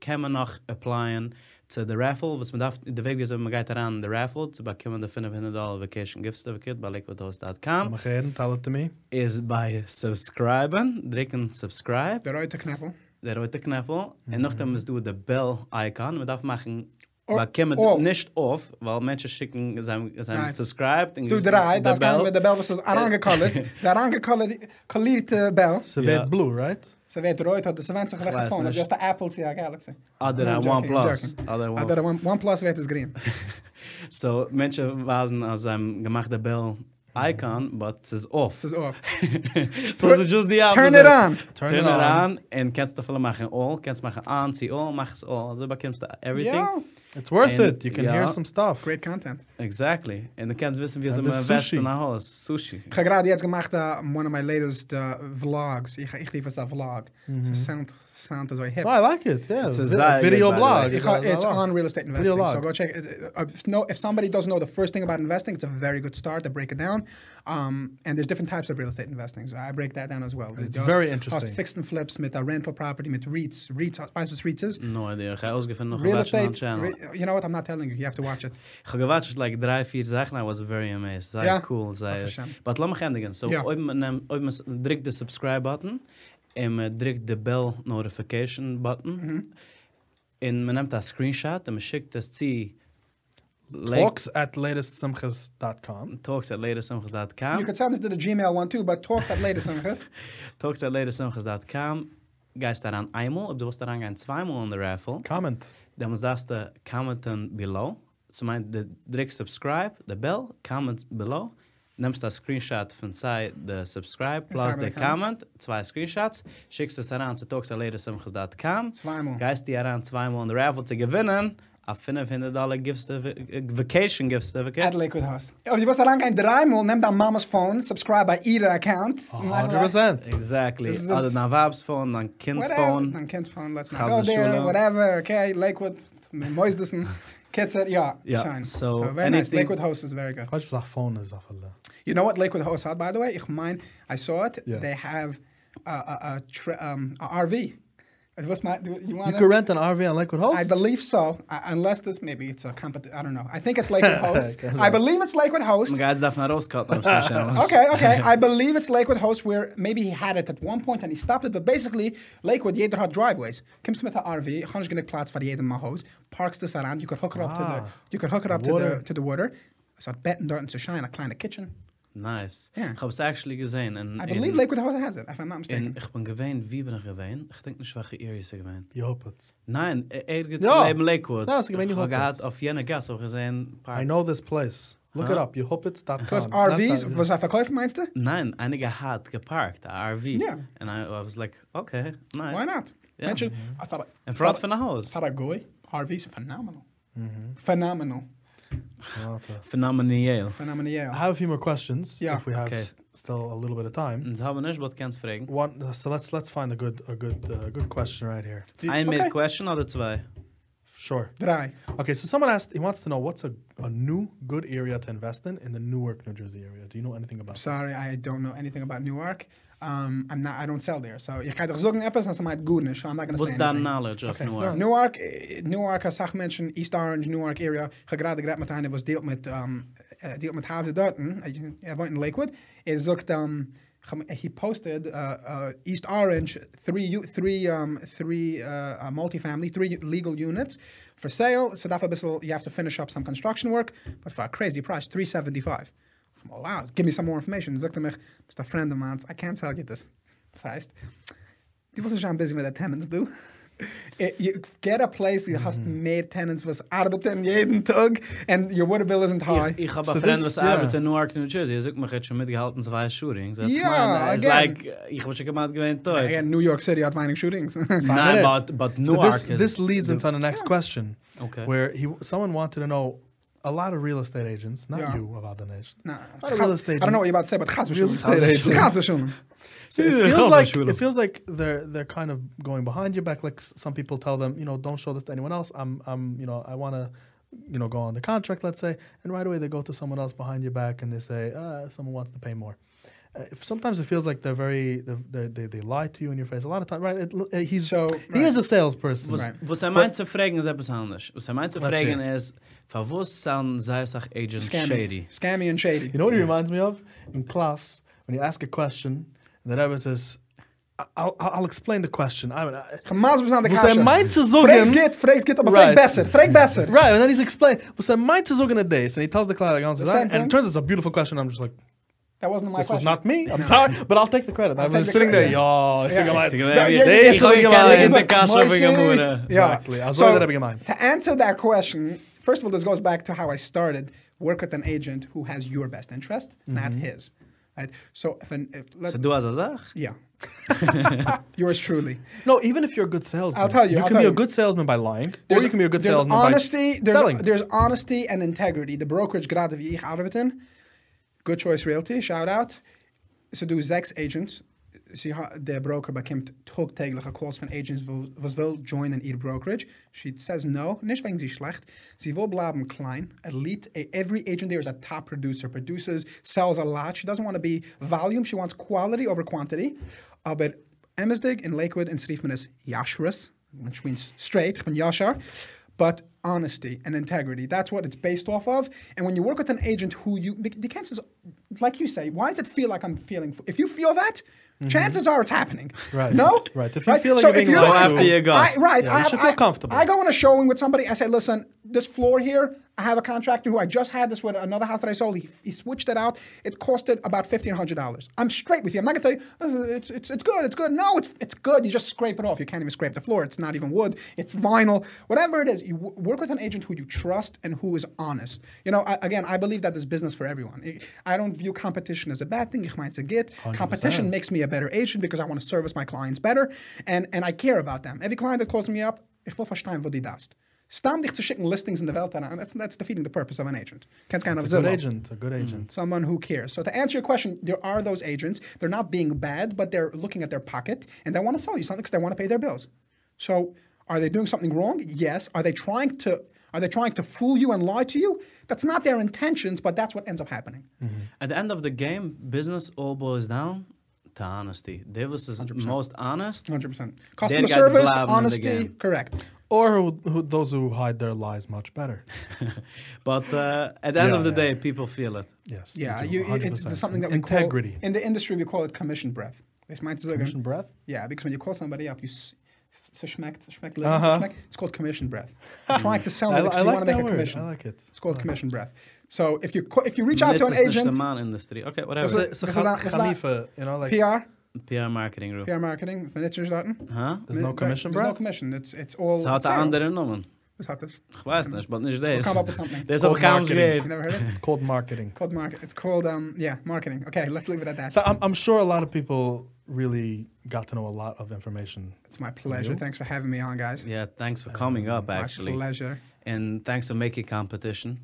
Kann man noch applyen to the raffle, was man darf, der Weg ist, wenn man geht daran, the raffle, zu bekommen der 500 Dollar Vacation Gift Certificate bei
I'm
liquidhost.com,
ahead tell it to me.
is by subscriben, drücken subscribe,
The road to Knappel.
der rote Knöpfel,
Mhm.
und nachdem ist du der Bell-Icon, man darf machen,
Oh,
man käme
oh.
nicht auf, weil Menschen schicken, sein, sein
Nice.
subscribed, und
Du drei,
der
das kann mit
Bell,
der Bell, was ist arangekallert. Der arangekallerte Bell.
Civet
Yeah.
Blue, right?
eh, Ze weet rood dat ze wensen
Glass,
gelegd gevonden.
dus-
Just de Apple TI Galaxy.
other
I'm
than one
joking, I'm
plus,
joking.
other
Ah, dat
one.
One OnePlus weet is green.
So, Menschen wasen, als sein gemacht der Bell-Icon, but es ist off.
Het is off.
So, es ist just die
Turn it on.
Turn,
Turn it on, und kannst du viele machen all, kannst machen an, zieh all, mach es all, also bekommst du everything.
Yeah.
It's worth
And-
it. You can
yeah.
hear some stuff.
Great content.
Exactly. Und du kannst wissen, wie es
And
im
the
Westen
sushi.
nach Haus, Sushi.
Ik heb gerade jetzt gemacht uh, one of my latest uh, vlogs. Ik, ik lief es a vlog. So sound, sound is so hip.
Oh, I like it. Yeah.
It's a
Vi-
Zygon,
video
by the
blog.
way.
Ik
It's
ga-
a
it's
Zygon.
on real estate investing.
Video
So
log.
go check it. Uh, uh, If, no, if somebody doesn't know the first thing about investing, it's a very good start to break it down. Um, and there's different types of real estate investing. So I break that down as well.
It's very interesting.
Hast fixed and flips mit uh, rental property, mit REITs. REITs, weißt du was REITs ist?
No idea. Ich habe ausgefunden noch
Real
ein Mm-hmm. Channel.
estate, re- you know what? I'm not telling you. You have to watch it.
Ich habe gewatscht, like, drei, vier Sachen. I was very amazed. Sehr
Ja.
cool. Sehr.
Ach, schön.
But lass mich endigen. So,
Ja.
ob man, nehm- ob man s- drückt den Subscribe-Button, und man drückt den Bell-Notification-Button,
Mhm.
und man nimmt das Screenshot, und man schickt das zu
Talks at latestsimchas.com.
talks at
You
latersimchas.com,
could send it to the Gmail one too, but talks at latest on this.
talks at latersimchas.com, Geist daran einmal, ob du willst daran gehen zweimal in der Raffle.
Comment.
dann muss das der Commenten below. So meint, der direkt Subscribe, der Bell, Comment below. Nimmst das Screenshot von sei der Subscribe plus
sei
der
der Comment.
Comment, zwei Screenshots, schickst es heran zu talksalatersimchas.com.
Zweimal.
Geist die heran zweimal in der Raffle zu gewinnen. A 500 Dollar Gift Certificate, äh, Vacation Gift
At
Certificate.
Lakewood House. Oh, you was daran kein dreimal, nimm dein Mamas Phone, subscribe bei ihrer Account.
100%.
Exactly.
This is-
Oder dein Wabs Phone, dein Kinds
Dus- Whatever.
Phone.
Dann Kids Phone, let's not
Gaat
go
de
there,
Schule.
whatever, okay, Lakewood, Moistessen, Kids, it, yeah,
Ja,
shine.
so
very nice.
anything-
Lakewood House is very good.
Quatsch, was auch Phone ist auf alle.
You know what Lakewood House had, by the way? Ich mine, I saw it.
Yeah.
They have a, a, a, tra- um, a RV. It was not, you want
You could rent an RV on Lakewood Host.
I believe so, uh, unless this maybe it's a compet. I don't know. I think it's Lakewood Host.
Okay.
I believe it's Lakewood Host.
Guys darf man rauskotten auf seinen Channels.
Okay, okay. I believe it's Lakewood Host where maybe he had it at one point and he stopped it, but basically Lakewood jeder had driveways. Kim's mit der RV, gannish gonna platz for jeden mal hose. Parks this around, you could hook it up to the
Ah.
you could hook it up to
Water.
the to the water. So at Betten Dorton to shine a kleine kitchen.
Nice.
Ja.
Ich habe es actually gesehen. in-
I
in-
believe Lakewood Host has it, if I'm not
in-
mistaken.
Ich bin gewähnt, wie bin ich gewähnt? Ich denke nicht, welche Area ist er gewähnt.
You hope it's.
Nein, er- er geht
Ja.
zum Leben Lakewood.
Ja, es gibt
ich
wenig
habe
Hotels.
gehabt auf jener Gas auch gesehen. Park.
I know this place. Look
Huh?
it up. You hope it's dot com.
Because
Not
RVs,
that-
was I verkauft meinst du?
Nein, einige hat geparkt, ein RV.
Ja.
And I, I was like, okay, nice.
Why not?
Ja.
Menschen,
Mm-hmm.
I thought
In front von a Haus.
Mm-hmm.
Paraguay, RVs, phenomenal. Phenomenal.
Phenomenal.
I
Phenomenal.
have a few more questions.
Yeah.
If we have
Okay.
s- still a little bit of time.
Und sie haben nicht, aber kannst fragen.
One, so let's let's find a good a good uh, good question right here.
Ein mehr
Okay.
Question oder zwei?
Sure.
Drei.
Okay, so someone asked he wants to know what's a, a new good area to invest in in the Newark, New Jersey area. Do you know anything about? this?
Sorry, I don't know anything about Newark. Um, I'm not, I don't sell there. So, ich kann doch sagen etwas, also mein gut nicht, so I'm not gonna
Was
say
dein
anything.
Knowledge auf Noir?
Newark, eh, Newark, als zag mensen, East Orange, Newark area, gegraad, gegraad met hij, was deelt met, um, eh, deelt met Hazen Dutton, hij- hij woont in Lakewood, hij zoekt, um, gem- he posted uh, uh, East Orange, three, u- three, um, three uh, uh, multifamily, three legal units for sale, so that's a bissel, you have to finish up some construction work, but for a crazy price, 375. I'm like, wow, give me some more information. Zoekt hij me, Mr. Friend of mine, I can't tell you this. Das heißt, die was schon busy mit den Tenants, du. It, you get a place where you hast mehr Tenants, was arbeiten jeden Tag, and your water bill isn't high.
Ich, ich habe
So
einen Freund,
this-
was
yeah.
arbeitet in Newark, New Jersey. Er sagt mir, ich hätte schon mitgehalten zwei Shootings. Er Das
Yeah,
ist
again.
like, ich habe schon gemacht gewähnt dort.
Again, New York City hat weinig shootings. So,
I
Nein,
did.
but, but
So
Newark
this,
is...
this leads into the next question,
Okay.
where he someone wanted to know a lot of real estate agents, not
Yeah.
you, Avadanation.
nah,
I don't know the state.
I don't know what you're about to say, but chas
Real estate agents.
schon.
So
Yeah,
it
how
feels like
much will
it
it-
feels like they're they're kind of going behind your back. Like s- some people tell them, you know, don't show this to anyone else. I'm I'm you know I want to you know go on the contract, let's say, and right away they go to someone else behind your back and they say, uh, someone wants to pay more. Uh, if- sometimes it feels like they're very they're, they're, they they lie to you in your face a lot of time. Right? It, l- uh, he's
So,
he
right.
is a salesperson.
Was,
Right.
was er meint zu fragen, ist etwas anderes. Was er meint zu
Let's
fragen
hear.
ist, für was sind Seisach Agent
Scammy.
Shady?
Scammy and shady.
You know what he reminds me of in class when you ask a question and the rabbi says, "I- "I'll I'll I'll explain the question." I'm. I,
Gemaas was aan de
Was
kasha.
hij meint te zoeken-
Freeks geht, Freeks geht, aber Freek
Right.
besser. Freek besser.
Right, and then he's explaining. Well, so mine's is looking at this, and he tells the client, like, answer
The same
that, and
thing?
it turns out it's a beautiful question. I'm just like,
That wasn't my
this was
question.
not me. I'm sorry, but I'll take the credit. i
I'll
was
take the
sitting there,
credit,
yo, ich
Yeah.
bin gemein.
Ich
Yeah, yeah,
This
yeah.
is what
habe
you
keine
mean.
in der Kasche
Moshe.
wegen Mure.
Yeah.
Exactly. I was worried that'd be mine.
To answer that question, first of all, this goes back to how I started. Work with an agent who has your best interest,
Mm-hmm.
not his. Right? So if an if let,
So du hast eine Sache?
yeah. Yours truly.
No, even if you're a good salesman,
I'll tell you,
you
I'll
can
tell
be a
you.
good salesman by lying, or you can be a good
there's
salesman
honesty,
by
there's,
selling.
There's honesty and integrity. The brokerage gerade wie ich arbeite in, Good Choice Realty, shout out. Ze doen sechs agents. Ze ha- de broker bekijkt tagtägliche calls van agents wil- was wil joinen in ihr brokerage. She says no, nicht wegen sie schlecht. Sie will blijven klein. Elite, a- every agent there is a top producer. Produces, sells a lot. She doesn't want to be volume. She wants quality over quantity. Uh, Aber Emsdig in Lakewood in schreef men is Yashrus, which means straight, ich bin Yashar. But honesty and integrity, that's what it's based off of. And when you work with an agent who you, the, the chances, like you say, why does it feel like I'm feeling, if you feel that, chances are it's happening.
Mm-hmm. Right.
No?
Right. If you feel like you're being
you're
lied
like-
to- After you go.
I, right.
Yeah,
I
you
have,
should feel
I-
comfortable.
I go on a showing with somebody, I say, listen, this floor here, I have a contractor who I just had this with another house that I sold. He, he switched it out. It costed about $1,500. I'm straight with you. I'm not going to tell you, "Uh, it's, it's, it's good, it's good. No, it's, it's good. You just scrape it off. You can't even scrape the floor. It's not even wood, it's vinyl. Whatever it is, you w- work with an agent who you trust and who is honest. You know, I, again, I believe that this business for everyone. I- I don't view competition as a bad thing. Ich meins a git. Competition
100%.
makes me a better agent because I want to service my clients better and, and I care about them. Every client that calls me up, ich will verstehen, wo die das. Stam dich zu schicken listings in the Welt and that's, that's defeating the purpose of an agent. Kennst keinen auf
It's a good
Zillow.
agent, a good agent.
Someone who cares. So to answer your question, there are those agents. They're not being bad, but they're looking at their pocket and they want to sell you something because they want to pay their bills. So are they doing something wrong? Yes. Are they trying to are they trying to fool you and lie to you? That's not their intentions, but that's what ends up happening.
Mm.
At the end of the game, business all boils down to honesty. They was the most honest.
100%. Customer
guy
service,
blabbing in the
honesty,
game.
correct.
Or who, who, those who hide their lies much better.
But uh, at the end
Yeah,
of the
yeah.
day, people feel it.
Yes.
Yeah,
do,
you, it- it's
100%.
something that we
integrity. Hmm.
call in the industry we call it commission breath. This means
Commission breath.
Yeah, because when you call somebody up, you s- so schmeckt, schmeckt, living,
Uh-huh.
schmeckt, it's called commission breath. You're trying to sell
I,
them because
I
you
like
want to
that
make a
word.
commission.
I like it.
It's called commission breath. So if you co- if you reach out to an
Let's just
agent,
man industry. Okay,
It's a,
whatever.
it's a
Is it
Khal-
not- is it not-
Khalifa, you know, like
PR,
PR marketing group.
PR marketing, miniatures starten.
Huh?
there's no commission
There's no
breath.
commission. It's it's all.
Es hat
sales.
einen anderen Namen.
Who's hat this?
Ich weiß nicht, aber nicht das.
come up with something.
Das habe ich kaum
Marketing.
You
gehört.
never heard of it?
It's called marketing.
Called market. It's called um yeah marketing. Okay, let's leave it at that.
So I'm, I'm sure a lot of people really got to know a lot of information.
it's my pleasure. Thanks for having me on, guys.
Yeah, thanks for coming up,
my
actually.
pleasure.
And thanks for making competition.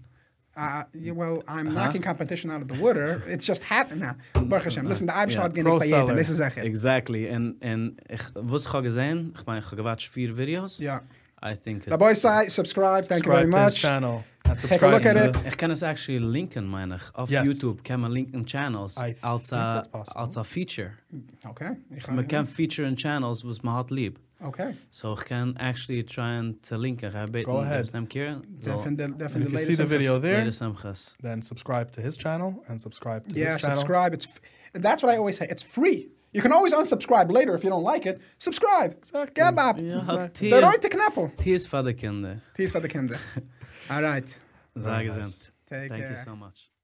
Uh, yeah, well, I'm
Uh-huh.
knocking competition out of the water. It's just happening now. Baruch Hashem. Listen, the Eibishter hat
Pro
gehen verjeten.
seller.
This is echt.
Exactly. En, en ich, was ich habe gesehen, ich meine, ich habe gewatscht vier Videos.
Ja.
I think it's...
The boy side, subscribe. Thank you very
Subscribe to his
much.
channel. And
Take a look
subscribe
at
to-
it.
Ich kann es actually linken, meine ich. Auf
Yes.
YouTube kann man linken Channels
I
als,
think
a,
that's possible.
als a Feature.
Okay. ich
Man
kann-
kann featuren Channels, was man hat lieb.
Okay.
So ich kann actually try and to linken. Ich habe beten,
Go ahead.
dass nem Kieran. So,
Definitely,
And
definitely.
if you see the video there,
ladies and gents.
then subscribe to his channel and subscribe to
Yeah,
his channel.
subscribe. It's f- that's what I always say. It's free. You can always unsubscribe later if you don't like it. Subscribe. Exactly. Gab ab.
Ja, hab
Der
Tears.
rote Knappel.
Tears für die Kinder.
Tears for the Kinder. All right.
Sag
nice.
es
Take
Thank you
care.
so much.